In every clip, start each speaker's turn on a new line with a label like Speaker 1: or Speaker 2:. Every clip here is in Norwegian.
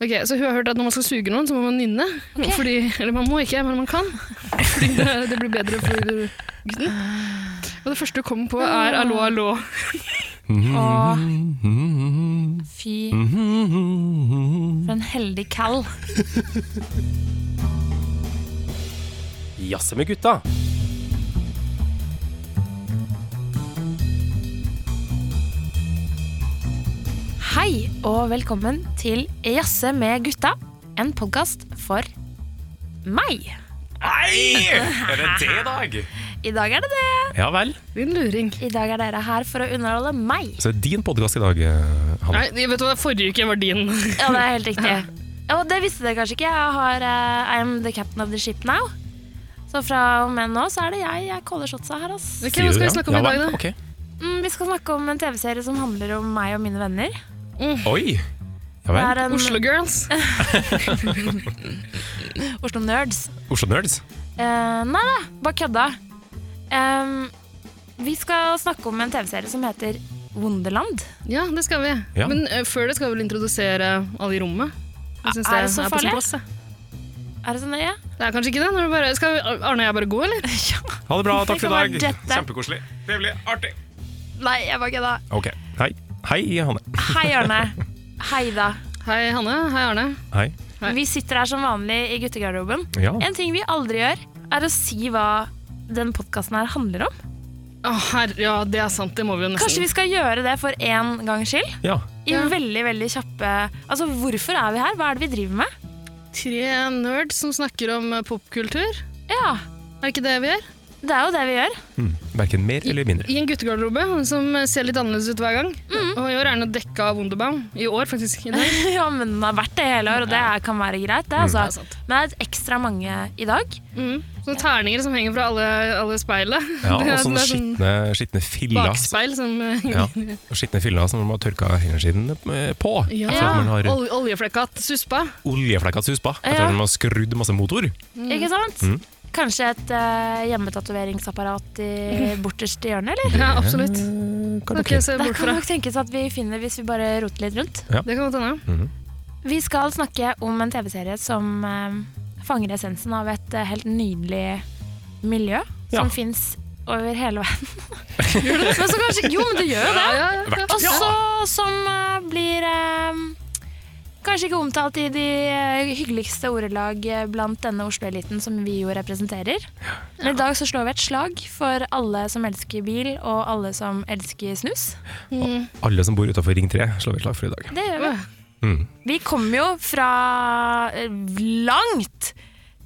Speaker 1: Ok, Så hun har hørt at når man skal suge noen, så må man nynne. Fordi, eller man må ikke, men man kan. Fordi det, det blir bedre for gutten. Og det første du kommer på, er 'allo, allo'.
Speaker 2: Fy, for en heldig kall.
Speaker 3: Jazze med gutta.
Speaker 2: Hei og velkommen til Jazze med gutta, en podkast for meg.
Speaker 3: Nei! Er det det i dag?
Speaker 2: I dag er det det.
Speaker 3: Ja vel.
Speaker 1: Din luring.
Speaker 2: I dag er dere her for å underholde meg.
Speaker 3: Så det er din podkast i dag, eh, Hanne.
Speaker 1: Nei, vet du hva, forrige uke var din.
Speaker 2: Ja, det er helt riktig. Og det visste dere kanskje ikke. Jeg har eh, I'm the captain of the ship now. Så fra og med nå så er det jeg. Jeg caller shotsa her, ass.
Speaker 1: Ok, Hva
Speaker 3: Sier du
Speaker 1: skal vi
Speaker 3: det?
Speaker 1: snakke om
Speaker 3: Ja
Speaker 1: i dag,
Speaker 3: vel,
Speaker 1: da?
Speaker 3: ok.
Speaker 2: Mm, vi skal snakke om en TV-serie som handler om meg og mine venner.
Speaker 3: Oi. Ja
Speaker 2: Det
Speaker 3: vel.
Speaker 2: er en
Speaker 1: Oslo Girls.
Speaker 2: Oslo Nerds.
Speaker 3: Oslo Nerds.
Speaker 2: Eh, nei da, bare kødda. Em, vi skal snakke om en TV-serie som heter Wonderland.
Speaker 1: Ja, det skal vi.
Speaker 3: Ja.
Speaker 1: Men eh, før det skal vi vel introdusere alle i rommet. Jeg synes
Speaker 2: Er det så
Speaker 1: på sin
Speaker 2: farlig?
Speaker 1: plass, jeg.
Speaker 2: Er det sånn så nøye?
Speaker 1: Det er kanskje ikke det? Når du bare, skal Arne og jeg bare gå, eller?
Speaker 2: ja.
Speaker 3: Ha det bra, takk
Speaker 2: Det
Speaker 3: for i dag.
Speaker 2: kan være dette.
Speaker 3: Kjempekoselig. Trivelig. Artig.
Speaker 2: Nei, jeg bare kødda.
Speaker 3: Ok. Hei. Hei, Hanne.
Speaker 2: Hei, Arne. Hei, da.
Speaker 1: Hei, Hanne. Hei, Arne.
Speaker 3: Hei.
Speaker 1: Hei.
Speaker 2: Vi sitter her som vanlig i guttegarderoben.
Speaker 3: Ja.
Speaker 2: En ting vi aldri gjør, er å si hva den podkasten her handler om.
Speaker 1: Å, herre, ja, det er sant. Det må vi jo nesten.
Speaker 2: Kanskje vi skal gjøre det for én gangs skyld?
Speaker 3: ja.
Speaker 2: I
Speaker 1: Ja.
Speaker 2: veldig, veldig kjappe Altså, hvorfor er vi her? Hva er det vi driver med?
Speaker 1: Tre nerds som snakker om eh, popkultur.
Speaker 2: Ja,
Speaker 1: Er det ikke det vi gjør?
Speaker 2: det er jo det vi gjør.
Speaker 3: Mm. Verken mer eller mindre.
Speaker 1: I en guttegarderobe som eh, ser litt annerledes ut hver gang.
Speaker 2: Mhm.
Speaker 1: Og i år er den jo dekka av Wunderbaum. I år, faktisk. I dag.
Speaker 2: ja, men den har vært det hele år, og det er- kan være greit, det,
Speaker 1: Det er
Speaker 2: altså.
Speaker 1: sant.
Speaker 2: Men det er et ekstra mange i dag.
Speaker 1: Mm. Sånne terninger som henger fra alle, alle speilet. Det
Speaker 3: Ja, og
Speaker 1: er-
Speaker 3: sånne
Speaker 1: det er sånn
Speaker 3: skitne, skitne filler.
Speaker 1: bakspeil som eh,
Speaker 3: Ja. Og skitne filler som de har tørka hendene sine eh, på.
Speaker 1: Ja,
Speaker 3: Så at man har
Speaker 1: Ol oljeflekka til suspa.
Speaker 3: oljeflekka suspa etter
Speaker 2: Ja.
Speaker 3: at man har skrudd masse motor.
Speaker 1: Mm.
Speaker 2: Ikke sant? Kanskje et uh, hjemmetatoveringsapparat i borterste hjørne, eller?
Speaker 1: Ja, absolutt.
Speaker 3: Eh,
Speaker 1: Kan
Speaker 3: kan dere-
Speaker 1: ikke se
Speaker 2: Det
Speaker 1: bort
Speaker 2: kan
Speaker 1: fra.
Speaker 2: nok tenkes at vi finner hvis vi bare roter litt rundt.
Speaker 1: Det kan godt hende.
Speaker 2: Vi skal snakke om en TV-serie som eh, fanger essensen av et eh, helt nydelig miljø
Speaker 3: Ja.
Speaker 2: som fins over hele verden. men så kanskje, jo, men det gjør jo det.
Speaker 1: Ja, ja, ja.
Speaker 2: Og så som eh, blir eh, kanskje ikke omtalt i de eh, hyggeligste ordelag eh, blant denne Oslo-eliten som vi jo representerer. Men i dag så slår vi et slag for alle som elsker bil, og alle som elsker snus.
Speaker 3: Alle som bor utafor Ring 3, slår vi et slag for i dag.
Speaker 2: Det gjør vi.
Speaker 3: Mm.
Speaker 2: Vi kommer jo fra eh, langt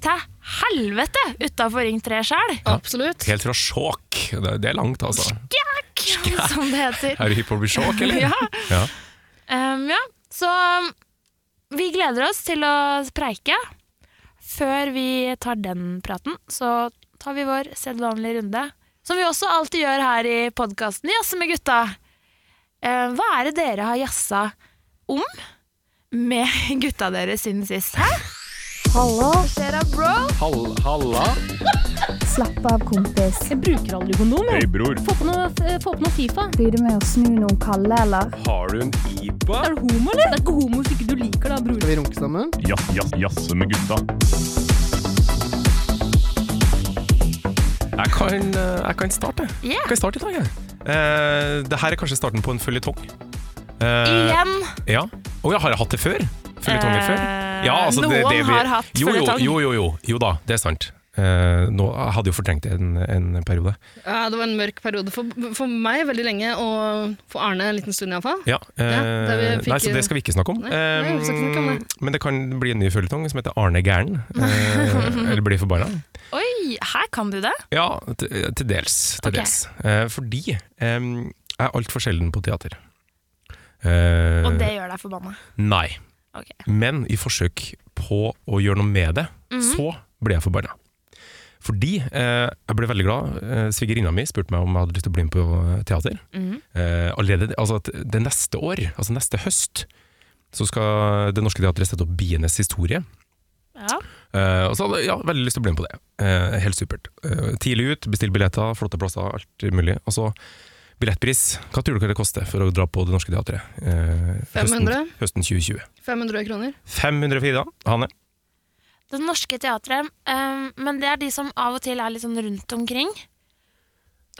Speaker 2: til helvete utafor Ring 3 sjøl,
Speaker 1: Absolutt.
Speaker 3: Helt fra Skjåk. Det, det er langt, altså.
Speaker 2: som det heter.
Speaker 3: Er du hypp på å bli Skjåk, eller?
Speaker 2: Ja.
Speaker 3: Ja.
Speaker 2: Um, ja. Så um, vi gleder oss til å preike. Før vi tar den praten, så tar vi vår sedvanlige runde. Som vi også alltid gjør her i podkasten Jazze med gutta. Eh, hva er det dere har jazza om med gutta deres siden sist? Hæ?
Speaker 4: Slapp av, kompis.
Speaker 5: Jeg bruker aldri kondom. jeg.
Speaker 3: Hei, bror.
Speaker 5: Få på noe, eh, få på noe Fifa.
Speaker 4: Blir det med å snu noen kalde, eller?
Speaker 3: Har du en IBA?
Speaker 5: Er du homo, eller? Det er ikke homo hvis ikke du liker det, bror.
Speaker 6: Skal vi runke sammen?
Speaker 7: Jazze med gutta.
Speaker 3: Jeg kan, eh, jeg kan starte.
Speaker 2: Ja.
Speaker 3: Jeg kan starte i dag, jeg. Eh, det her er kanskje starten på en føljetong. Eh,
Speaker 2: Igjen.
Speaker 3: ja. Å ja, har jeg hatt det før? Følgetonger før?
Speaker 1: Eh,
Speaker 3: Ja, altså, det-
Speaker 2: noen
Speaker 3: det vi-
Speaker 2: har hatt
Speaker 3: jo, jo,
Speaker 2: føljetong.
Speaker 3: jo, jo, jo. Jo da, det er sant. Eh, nå jeg hadde jo fortrengt det en, en periode.
Speaker 1: Ja, det var en mørk periode for, for meg veldig lenge, og for Arne en liten stund iallfall.
Speaker 3: Ja, eh,
Speaker 1: Ja, der vi fikk-
Speaker 3: nei, så det skal vi ikke snakke om. Ehm,
Speaker 1: Nei, nei, vi skal ikke snakke om det.
Speaker 3: men det kan bli en ny føljetong som heter Arne Gæren. Eh, eller Bli forbanna.
Speaker 2: Oi, her kan du det?
Speaker 3: Ja, til, til dels. Til
Speaker 2: Ok.
Speaker 3: dels. Eh, fordi eh, jeg er altfor sjelden på teater. Eh,
Speaker 2: Og det gjør deg forbanna.
Speaker 3: Nei.
Speaker 2: Ok.
Speaker 3: Men i forsøk på å gjøre noe med det, så ble jeg forbanna. Fordi eh, jeg ble veldig glad. Eh, Svigerinna mi spurte meg om jeg hadde lyst til å bli med på eh, teater. Eh, allerede altså at det neste år, altså neste høst, så skal Det Norske Teatret sette opp Bienes historie.
Speaker 2: Ja.
Speaker 3: Eh, og så hadde jeg ja, veldig lyst til å bli med på det. Eh, helt supert. Eh, tidlig ut, bestill billetter, flotte plasser, alt mulig. Og så Billettpris, hva tror du det koster for å dra på Det Norske Teatret? eh, høsten,
Speaker 1: 500?
Speaker 3: høsten 2020.
Speaker 1: 500 kroner.
Speaker 3: 500 for Ida. Hanne?
Speaker 2: Det norske teatret, eh, men det er de som av og til er litt sånn rundt omkring.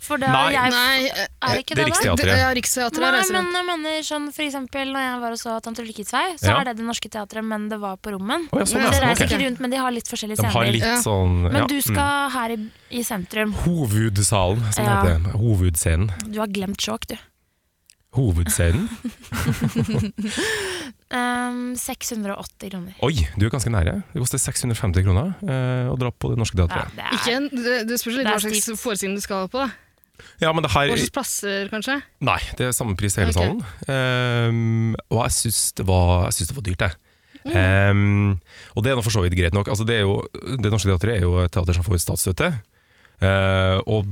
Speaker 2: For da
Speaker 3: Nei.
Speaker 2: jeg
Speaker 1: Nei, eh,
Speaker 2: Er det ikke
Speaker 3: Det er
Speaker 2: det, da?
Speaker 3: Riksteatret.
Speaker 1: det- ja, Riksteatret
Speaker 2: Nei,
Speaker 1: reiser rundt.
Speaker 2: men jeg mener sånn for eksempel når jeg var og så Tante Ulrikkes vei, så
Speaker 3: Ja.
Speaker 2: er det Det Norske Teatret, men det var på rommen.
Speaker 3: Å ja, sånn,
Speaker 2: Men det
Speaker 3: ja.
Speaker 2: reiser
Speaker 3: ok.
Speaker 2: ikke rundt, men de har litt forskjellige
Speaker 3: De har
Speaker 2: scener.
Speaker 3: litt
Speaker 1: Ja.
Speaker 3: sånn ja,
Speaker 2: Men du
Speaker 3: mm.
Speaker 2: skal her i, i sentrum.
Speaker 3: Hovedsalen, som
Speaker 2: Ja.
Speaker 3: det heter. Hovedscenen.
Speaker 2: Du har glemt Skjåk, du.
Speaker 3: Hovedscenen.
Speaker 2: Ehm, 680 kroner.
Speaker 3: Oi, du er ganske nære. Det koster 650 kroner eh, å dra på Det Norske
Speaker 2: Ja,
Speaker 3: Teatret.
Speaker 2: det er,
Speaker 1: Ikke en, det, det spørs litt
Speaker 2: Det er
Speaker 1: hva slags
Speaker 2: stivt.
Speaker 1: forestilling du skal på. da.
Speaker 3: Ja, men det her
Speaker 1: Hva slags plasser, kanskje?
Speaker 3: Nei, det er samme pris i hele
Speaker 1: Ok.
Speaker 3: salen. Ehm, og jeg syns det, var- jeg syns det var dyrt, jeg. Ehm, og det er nå for så vidt greit nok. Altså, det, er jo, det Norske Teatret er jo et teater som får statsstøtte. Eh, og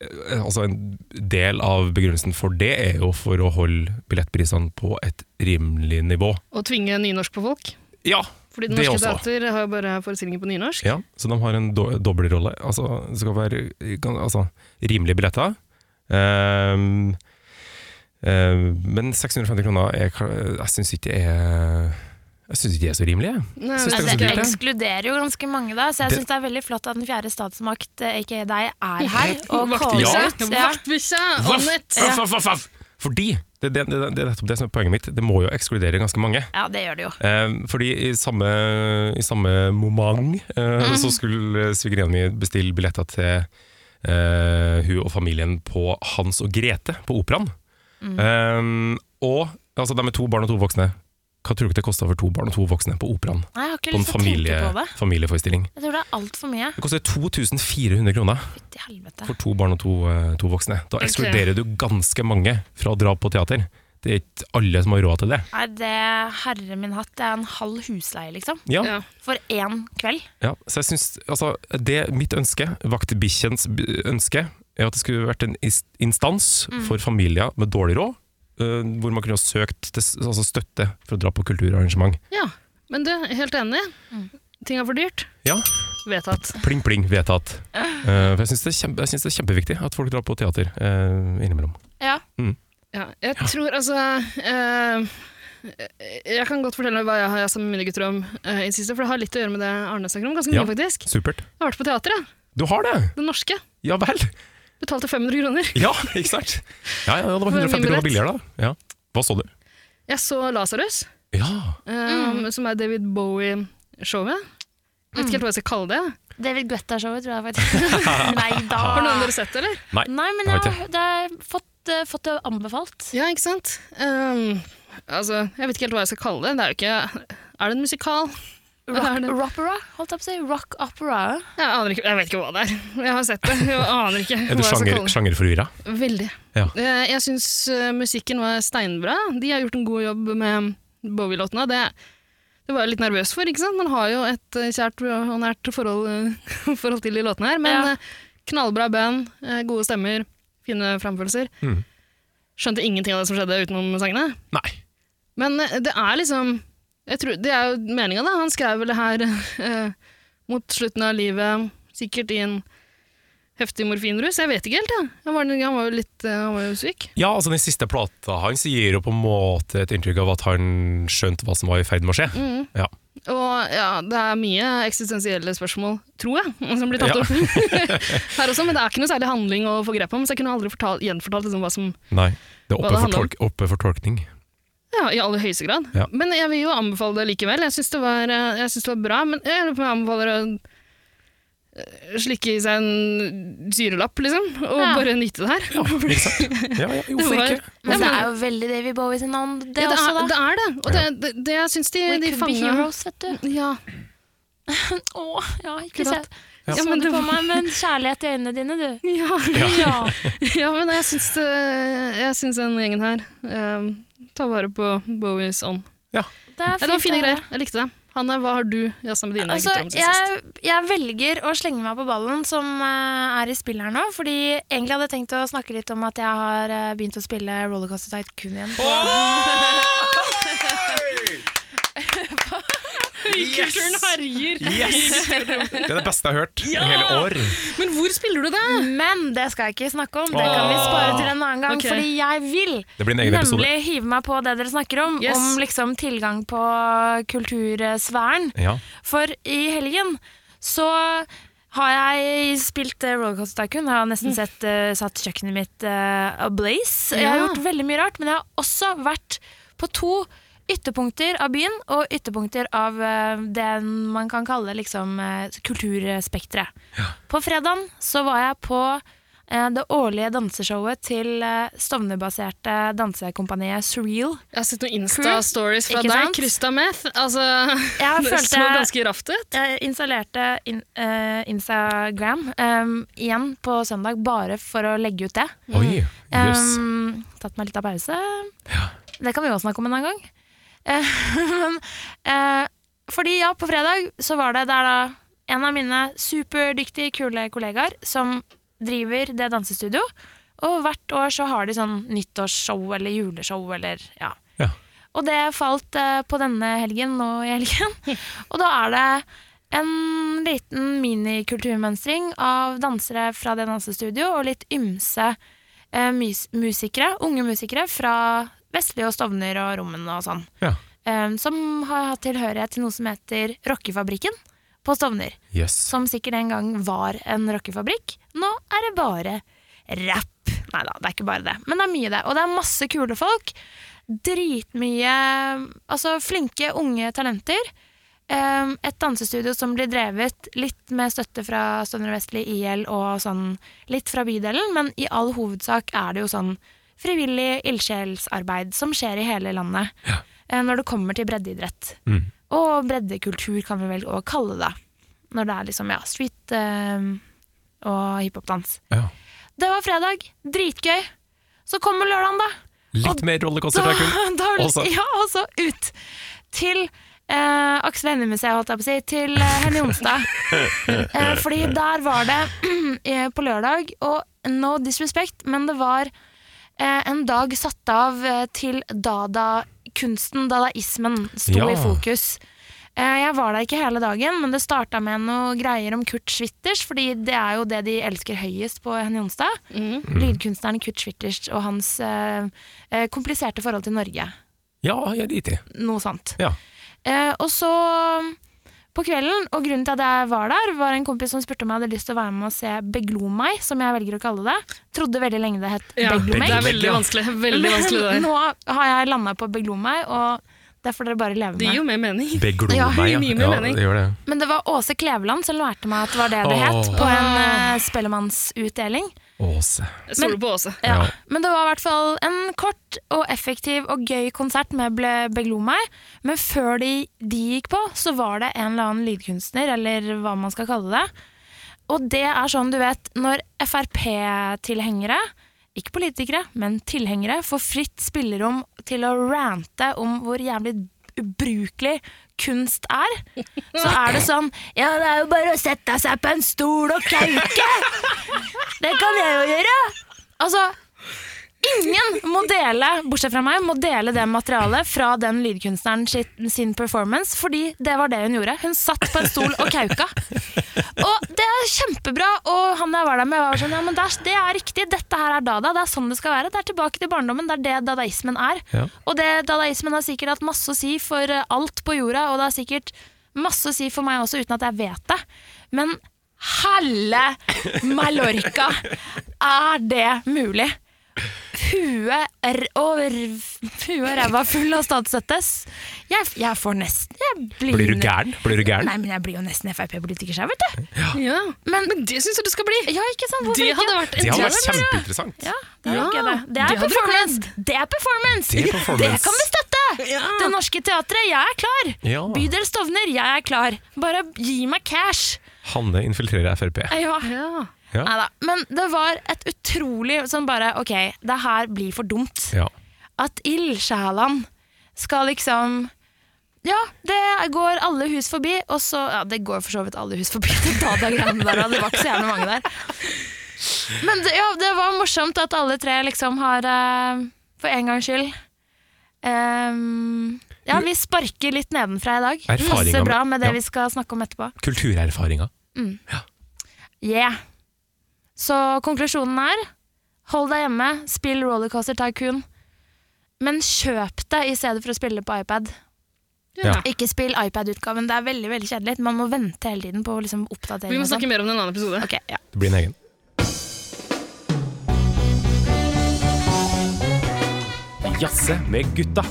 Speaker 3: eh, altså, en del av begrunnelsen for det er jo for å holde billettprisene på et rimelig nivå.
Speaker 1: Og tvinge nynorsk på folk.
Speaker 3: Ja,
Speaker 1: Fordi Det
Speaker 3: Det
Speaker 1: Norske
Speaker 3: også.
Speaker 1: Teater har jo bare forestillinger på nynorsk.
Speaker 3: Ja, så de har en do dobbelrolle. Altså, det skal være gan- altså, rimelige billetter. Ehm, ehm, men 650 kroner er, ka- jeg syns ikke det er jeg syns ikke det er så rimelig. jeg.
Speaker 1: Nei,
Speaker 3: Syns
Speaker 1: men-
Speaker 3: det
Speaker 2: men det
Speaker 3: er ganske dyrt, ja.
Speaker 2: altså, ekskluderer jo ganske mange, da, så jeg
Speaker 3: Det-
Speaker 2: syns det er veldig flott at den fjerde statsmakt, eh, aka deg, er her og
Speaker 1: Vaktbikkja.
Speaker 2: caller
Speaker 3: Ja.
Speaker 2: ut. Ja.
Speaker 1: Vaktbikkja!
Speaker 3: Vaff,
Speaker 1: Annet!
Speaker 3: vaff, vaff, vaff, vaff. Fordi det, det, det, det er nettopp det som er poenget mitt. Det må jo ekskludere ganske mange.
Speaker 2: ja, det gjør det jo.
Speaker 3: Ehm, fordi i samme, i samme moment eh, så skulle svigerinna mi bestille billetter til eh, hun og familien på Hans og Grete på operaen. Ehm, og altså, de er to barn og to voksne. Hva tror du ikke det kosta for to barn og to voksne på operaen?
Speaker 2: Nei, jeg har ikke
Speaker 3: På en
Speaker 2: lyst til å
Speaker 3: familie,
Speaker 2: tenke sånn på det.
Speaker 3: familieforestilling.
Speaker 2: Jeg tror det er altfor mye.
Speaker 3: Det koster 2400 kroner
Speaker 2: Fytti helvete.
Speaker 3: for to barn og to, eh, to voksne. Da
Speaker 1: Ok.
Speaker 3: ekskluderer du ganske mange fra å dra på teater. Det er ikke alle som har råd til det.
Speaker 2: Nei, det herre min hatt, det er en halv husleie, liksom.
Speaker 3: Ja,
Speaker 1: Ja.
Speaker 2: For én kveld.
Speaker 3: Ja, så jeg synes, altså, det mitt ønske, vaktbikkjens b- ønske, er at det skulle vært en is- instans for familier med dårlig råd, øh, hvor man kunne ha søkt til, s- altså støtte for å dra på kulturarrangement.
Speaker 1: ja. Men du, helt enig.
Speaker 2: Mm.
Speaker 1: Ting er for dyrt.
Speaker 3: Ja.
Speaker 1: Vedtatt.
Speaker 3: Pling, pling, vedtatt. Eh, for jeg synes, det er kjempe, jeg synes det er kjempeviktig at folk drar på teater eh, innimellom.
Speaker 2: Ja.
Speaker 1: Ja, jeg tror altså eh, Jeg kan godt fortelle hva jeg har jeg sammen med mine gutter om eh, i det siste, for det har litt å gjøre med det Arne snakker om. Ganske mye,
Speaker 3: Ja.
Speaker 1: faktisk.
Speaker 3: Supert.
Speaker 1: Jeg har vært på teatret.
Speaker 3: Du har det!
Speaker 1: Det norske.
Speaker 3: Ja vel!
Speaker 1: Betalte 500 kroner.
Speaker 3: Ja, ikke sant? Ja, ja, det var 150 kroner billigere da. Ja. Hva så du?
Speaker 1: Jeg så Lasarus,
Speaker 3: Ja,
Speaker 1: Ehm, som er David Bowie-showet. Jeg vet ikke helt hva jeg skal kalle det.
Speaker 2: David Guetta-showet, tror jeg faktisk. Nei da.
Speaker 1: Har noen av dere sett det, eller?
Speaker 2: Nei, men
Speaker 3: Det
Speaker 2: jeg
Speaker 3: har
Speaker 2: har det har jeg fått, eh, fått det anbefalt.
Speaker 1: Ja, ikke sant? Ehm, altså, jeg vet ikke helt hva jeg skal kalle det. Det er jo ikke Er det en musikal? Er
Speaker 2: Rock,
Speaker 1: det-
Speaker 2: rockopera, holdt jeg på å si. Rock opera.
Speaker 1: Jeg aner ikke, jeg vet ikke hva det er. Jeg har sett det. Jeg aner ikke
Speaker 3: er du
Speaker 1: hva jeg skal
Speaker 3: sjanger,
Speaker 1: kalle det.
Speaker 3: sjangerforvirra?
Speaker 1: Veldig.
Speaker 3: Ja.
Speaker 1: Eh, Jeg syns musikken var steinbra. De har gjort en god jobb med Bowie-låtene. Det, det var jeg litt nervøs for, ikke sant? Man har jo et eh, kjært og nært forhold, eh, forhold til de låtene her. Men
Speaker 2: Ja.
Speaker 1: eh, knallbra band, eh, gode stemmer, fine framførelser.
Speaker 3: Mm.
Speaker 1: Skjønte ingenting av det som skjedde utenom sangene.
Speaker 3: Nei.
Speaker 1: Men eh, det er liksom jeg tror, Det er jo meninga, da. Han skrev vel det her eh, mot slutten av livet, sikkert i en heftig morfinrus. Jeg vet ikke helt, jeg. Han var, han var jo litt eh, Han var jo syk.
Speaker 3: Ja, altså den siste plata hans gir jo på en måte et inntrykk av at han skjønte hva som var i ferd med å skje.
Speaker 1: Mhm.
Speaker 3: Ja.
Speaker 1: Og ja, det er mye eksistensielle spørsmål, tror jeg, som blir tatt
Speaker 3: Ja.
Speaker 1: opp her også. Men det er ikke noe særlig handling å få grep om, så jeg kunne aldri fortalt, gjenfortalt liksom, hva som
Speaker 3: Nei, det
Speaker 1: Hva det
Speaker 3: er oppe for,
Speaker 1: handler om?
Speaker 3: tolk, oppe for tolkning.
Speaker 1: Ja, i aller høyeste grad.
Speaker 3: Ja.
Speaker 1: Men jeg vil jo anbefale det likevel. Jeg syns det, var- eh, jeg syns det var bra, men jeg lurer på om jeg anbefaler å eh, slikke i seg en syrelapp, liksom, og
Speaker 2: Ja.
Speaker 1: bare nyte det her.
Speaker 3: Ikke sant? Ja, ja,
Speaker 1: Det
Speaker 3: hvorfor
Speaker 1: var-
Speaker 3: ikke?
Speaker 1: Ja,
Speaker 2: Men det er
Speaker 1: men-
Speaker 2: jo veldig David Bowie sin ånd, det,
Speaker 1: Ja,
Speaker 2: også, da.
Speaker 1: det er det. Og det, det, det jeg syns de,
Speaker 2: We
Speaker 1: de
Speaker 2: could be
Speaker 1: fanga
Speaker 2: heroes, vet du.
Speaker 1: ja.
Speaker 2: Å, ja, ikke sant.
Speaker 3: Ja.
Speaker 2: Så
Speaker 1: Ja, men
Speaker 2: du
Speaker 1: det
Speaker 2: på
Speaker 1: var-
Speaker 2: meg med en kjærlighet i øynene dine, du.
Speaker 1: Ja.
Speaker 2: Ja.
Speaker 1: ja, men jeg syns, det, jeg syns den gjengen her eh, tar vare på Bowies ånd.
Speaker 2: Det
Speaker 1: Ja, det var fine
Speaker 2: å høre.
Speaker 1: greier. Jeg likte det. Hanne, hva har du jazza med dine
Speaker 2: Altså,
Speaker 1: gutter om siden sist?
Speaker 2: jeg, jeg velger å slenge meg på ballen som eh, er i spill her nå, fordi egentlig hadde jeg tenkt å snakke litt om at jeg har eh, begynt å spille Rollercoaster Tycoon igjen.
Speaker 1: Røykulturen herjer!
Speaker 3: Yes! Det er det beste jeg har hørt i hele år.
Speaker 1: Men hvor spiller du det?
Speaker 2: Men det skal jeg ikke snakke om. Det kan vi spare til en annen gang.
Speaker 1: Ok.
Speaker 2: Fordi jeg vil
Speaker 3: Det blir en egen
Speaker 2: nemlig
Speaker 3: episode.
Speaker 2: hive meg på det dere snakker om,
Speaker 1: Yes.
Speaker 2: om liksom tilgang på kultursfæren.
Speaker 3: Ja.
Speaker 2: For i helgen så har jeg spilt eh, Rollercoaster Tycoon. Jeg har
Speaker 1: Mm.
Speaker 2: nesten sett, eh, satt kjøkkenet mitt uh, ablaze. Jeg har
Speaker 1: Ja.
Speaker 2: gjort veldig mye rart, men jeg har også vært på to ytterpunkter av byen, og ytterpunkter av eh, det man kan kalle liksom, eh, kulturspekteret. På fredagen så var jeg på eh, det årlige danseshowet til eh, Stovner-baserte dansekompaniet Surreal.
Speaker 1: Jeg har sett noen Insta-stories fra deg,
Speaker 2: Ikke sant?
Speaker 1: Krysta Meth. Altså,
Speaker 2: Jeg
Speaker 1: det
Speaker 2: følte-
Speaker 1: så ganske raft ut.
Speaker 2: Jeg installerte in, eh, Instagram em, igjen på søndag, bare for å legge ut det.
Speaker 3: Oi, jøss.
Speaker 2: Em, tatt meg litt av pause. Det kan vi også snakke om en annen gang. Eh, men, eh, fordi ja, på fredag så var det der da en av mine superdyktige, kule kollegaer som driver det dansestudio. Og hvert år så har de sånn nyttårsshow eller juleshow eller ja.
Speaker 3: Ja.
Speaker 2: Og det falt eh, på denne helgen nå i helgen. Og da er det en liten minikulturmønstring av dansere fra det dansestudio og litt ymse eh, mus musikere, unge musikere fra Vestli og Stovner og Rommen og sånn.
Speaker 3: Ja.
Speaker 2: Eh, som har hatt tilhørighet til noe som heter Rockefabrikken på Stovner.
Speaker 3: Jøss.
Speaker 2: Som sikkert en gang var en rockefabrikk. Nå er det bare rapp. Nei da, det er ikke bare det. Men det er mye det. Og det er masse kule folk. Dritmye Altså flinke, unge talenter. Um, et dansestudio som blir drevet litt med støtte fra Stovner Vestli IL og sånn litt fra bydelen, men i all hovedsak er det jo sånn frivillig ildsjelsarbeid som skjer i hele landet eh, når det kommer til breddeidrett.
Speaker 3: Mm.
Speaker 2: Og breddekultur kan vi vel også kalle det. Når det er liksom, ja, street eh, og hiphopdans.
Speaker 3: Ja.
Speaker 2: Det var fredag. Dritgøy. Så kommer lørdagen, da.
Speaker 3: Litt mer rollercoaster fra kun.
Speaker 2: Da, da,
Speaker 3: Også.
Speaker 2: Ja, og så ut til eh, Aksel Hennie-museet, holdt jeg på å si. Til eh, Henny Onsdag. eh, fordi der var det eh, på lørdag, og no disrespect, men det var eh, en dag satt av eh, til dada-kunsten, dadaismen, sto
Speaker 3: Ja.
Speaker 2: i fokus. Eh, Jeg var der ikke hele dagen, men det starta med noe greier om Kurt Schwitters, fordi det er jo det de elsker høyest på Henny Onsdag. Lydkunstneren Kurt Schwitters og hans eh, eh, kompliserte forhold til Norge.
Speaker 3: Ja, jeg driter i.
Speaker 2: Noe sånt.
Speaker 3: Ja.
Speaker 2: Eh, og så på kvelden, og grunnen til at jeg var der, var en kompis som spurte om jeg hadde lyst til å være med og se Beglo meg, som jeg velger å kalle det. Trodde veldig lenge det het
Speaker 1: Ja,
Speaker 2: Beglo
Speaker 1: det
Speaker 2: meg.
Speaker 3: Meg?
Speaker 1: er veldig vanskelig. Veldig vanskelig det der.
Speaker 2: Men nå har jeg landa på Beglo meg, og det får dere bare leve med.
Speaker 1: Det gir jo mer mening.
Speaker 3: Beglo
Speaker 2: Ja,
Speaker 3: meg, ja.
Speaker 1: mye mer
Speaker 3: ja.
Speaker 1: mening.
Speaker 3: Det gjør det.
Speaker 2: Men det var Åse Kleveland som lærte meg at det var det det
Speaker 3: Åh.
Speaker 2: het, på en uh, spellemannsutdeling.
Speaker 3: Åse.
Speaker 1: Sol på Åse.
Speaker 2: Ja.
Speaker 3: Ja.
Speaker 2: Men det var i hvert fall en kort og effektiv og gøy konsert med Ble- Beglo meg. Men før de, de gikk på, så var det en eller annen lydkunstner, eller hva man skal kalle det. Og det er sånn, du vet, når Frp-tilhengere, ikke politikere, men tilhengere, får fritt spillerom til å rante om hvor jævlig ubrukelig kunst er, så er det sånn Ja, det er jo bare å sette seg på en stol og kauke! Det kan jeg jo gjøre! Altså, ingen må dele, bortsett fra meg, må dele det materialet fra den lydkunstneren sitt, sin performance, fordi det var det hun gjorde. Hun satt på en stol og kauka. Og det er kjempebra, og han jeg var der med, var sånn Ja, men det er, det er riktig, dette her er dada, det er sånn det skal være. Det er tilbake til barndommen, det er det dadaismen er.
Speaker 3: Ja.
Speaker 2: Og det dadaismen har sikkert hatt masse å si for eh, alt på jorda, og det har sikkert masse å si for meg også, uten at jeg vet det. Men helle Mallorca! Er det mulig? Huet r- og r- huet og ræva full av statsstøtte. S- Jeg, jeg får nesten jeg blir,
Speaker 3: Blir du gæren? Blir du gæren?
Speaker 2: Nei, men jeg blir jo nesten Frp-politiker selv, vet du.
Speaker 1: Ja.
Speaker 2: Men-
Speaker 1: Men det syns jeg du skal bli!
Speaker 2: Ja, ikke sant? Hvorfor
Speaker 1: Det
Speaker 2: ikke?
Speaker 1: hadde vært
Speaker 3: Det hadde
Speaker 1: en
Speaker 3: vært kjempeinteressant.
Speaker 2: Ja, det, er
Speaker 1: Ja,
Speaker 2: ikke det. det
Speaker 1: det
Speaker 2: er
Speaker 1: hadde du
Speaker 2: performance! Det er performance!
Speaker 3: Det er performance.
Speaker 2: Det kan vi støtte! Det Norske Teatret, jeg er klar!
Speaker 3: Ja.
Speaker 2: Bydel Stovner, jeg er klar! Bare gi meg cash!
Speaker 3: Hanne infiltrerer Frp.
Speaker 2: Ja.
Speaker 1: Ja.
Speaker 3: Ja.
Speaker 2: Neida. Men det var et utrolig sånn bare Ok, det her blir for dumt.
Speaker 3: Ja.
Speaker 2: At ildsjelene skal liksom ja, det går alle hus forbi, og så Ja, det går for så vidt alle hus forbi. Det, da, det, greiene der, da. det var ikke så jævlig mange der. Men det, ja, det var morsomt at alle tre liksom har eh, For en gangs skyld eh, Ja, vi sparker litt nedenfra i dag.
Speaker 3: Erfaringa
Speaker 2: Passer bra
Speaker 3: med-
Speaker 2: med det
Speaker 3: ja.
Speaker 2: vi skal snakke om etterpå.
Speaker 3: Kulturerfaringer.
Speaker 2: Yeah. Så konklusjonen er hold deg hjemme, spill Rollercoaster Tycoon. Men kjøp det i stedet for å spille på iPad.
Speaker 3: Ja.
Speaker 2: Ikke spill iPad-utgaven, det er veldig veldig kjedelig. Man må vente hele tiden på liksom, oppdatering.
Speaker 1: Vi må
Speaker 2: og sånn.
Speaker 1: snakke mer om det i en annen episode.
Speaker 2: Ok, ja.
Speaker 3: Det blir en egen. Jazze med gutta.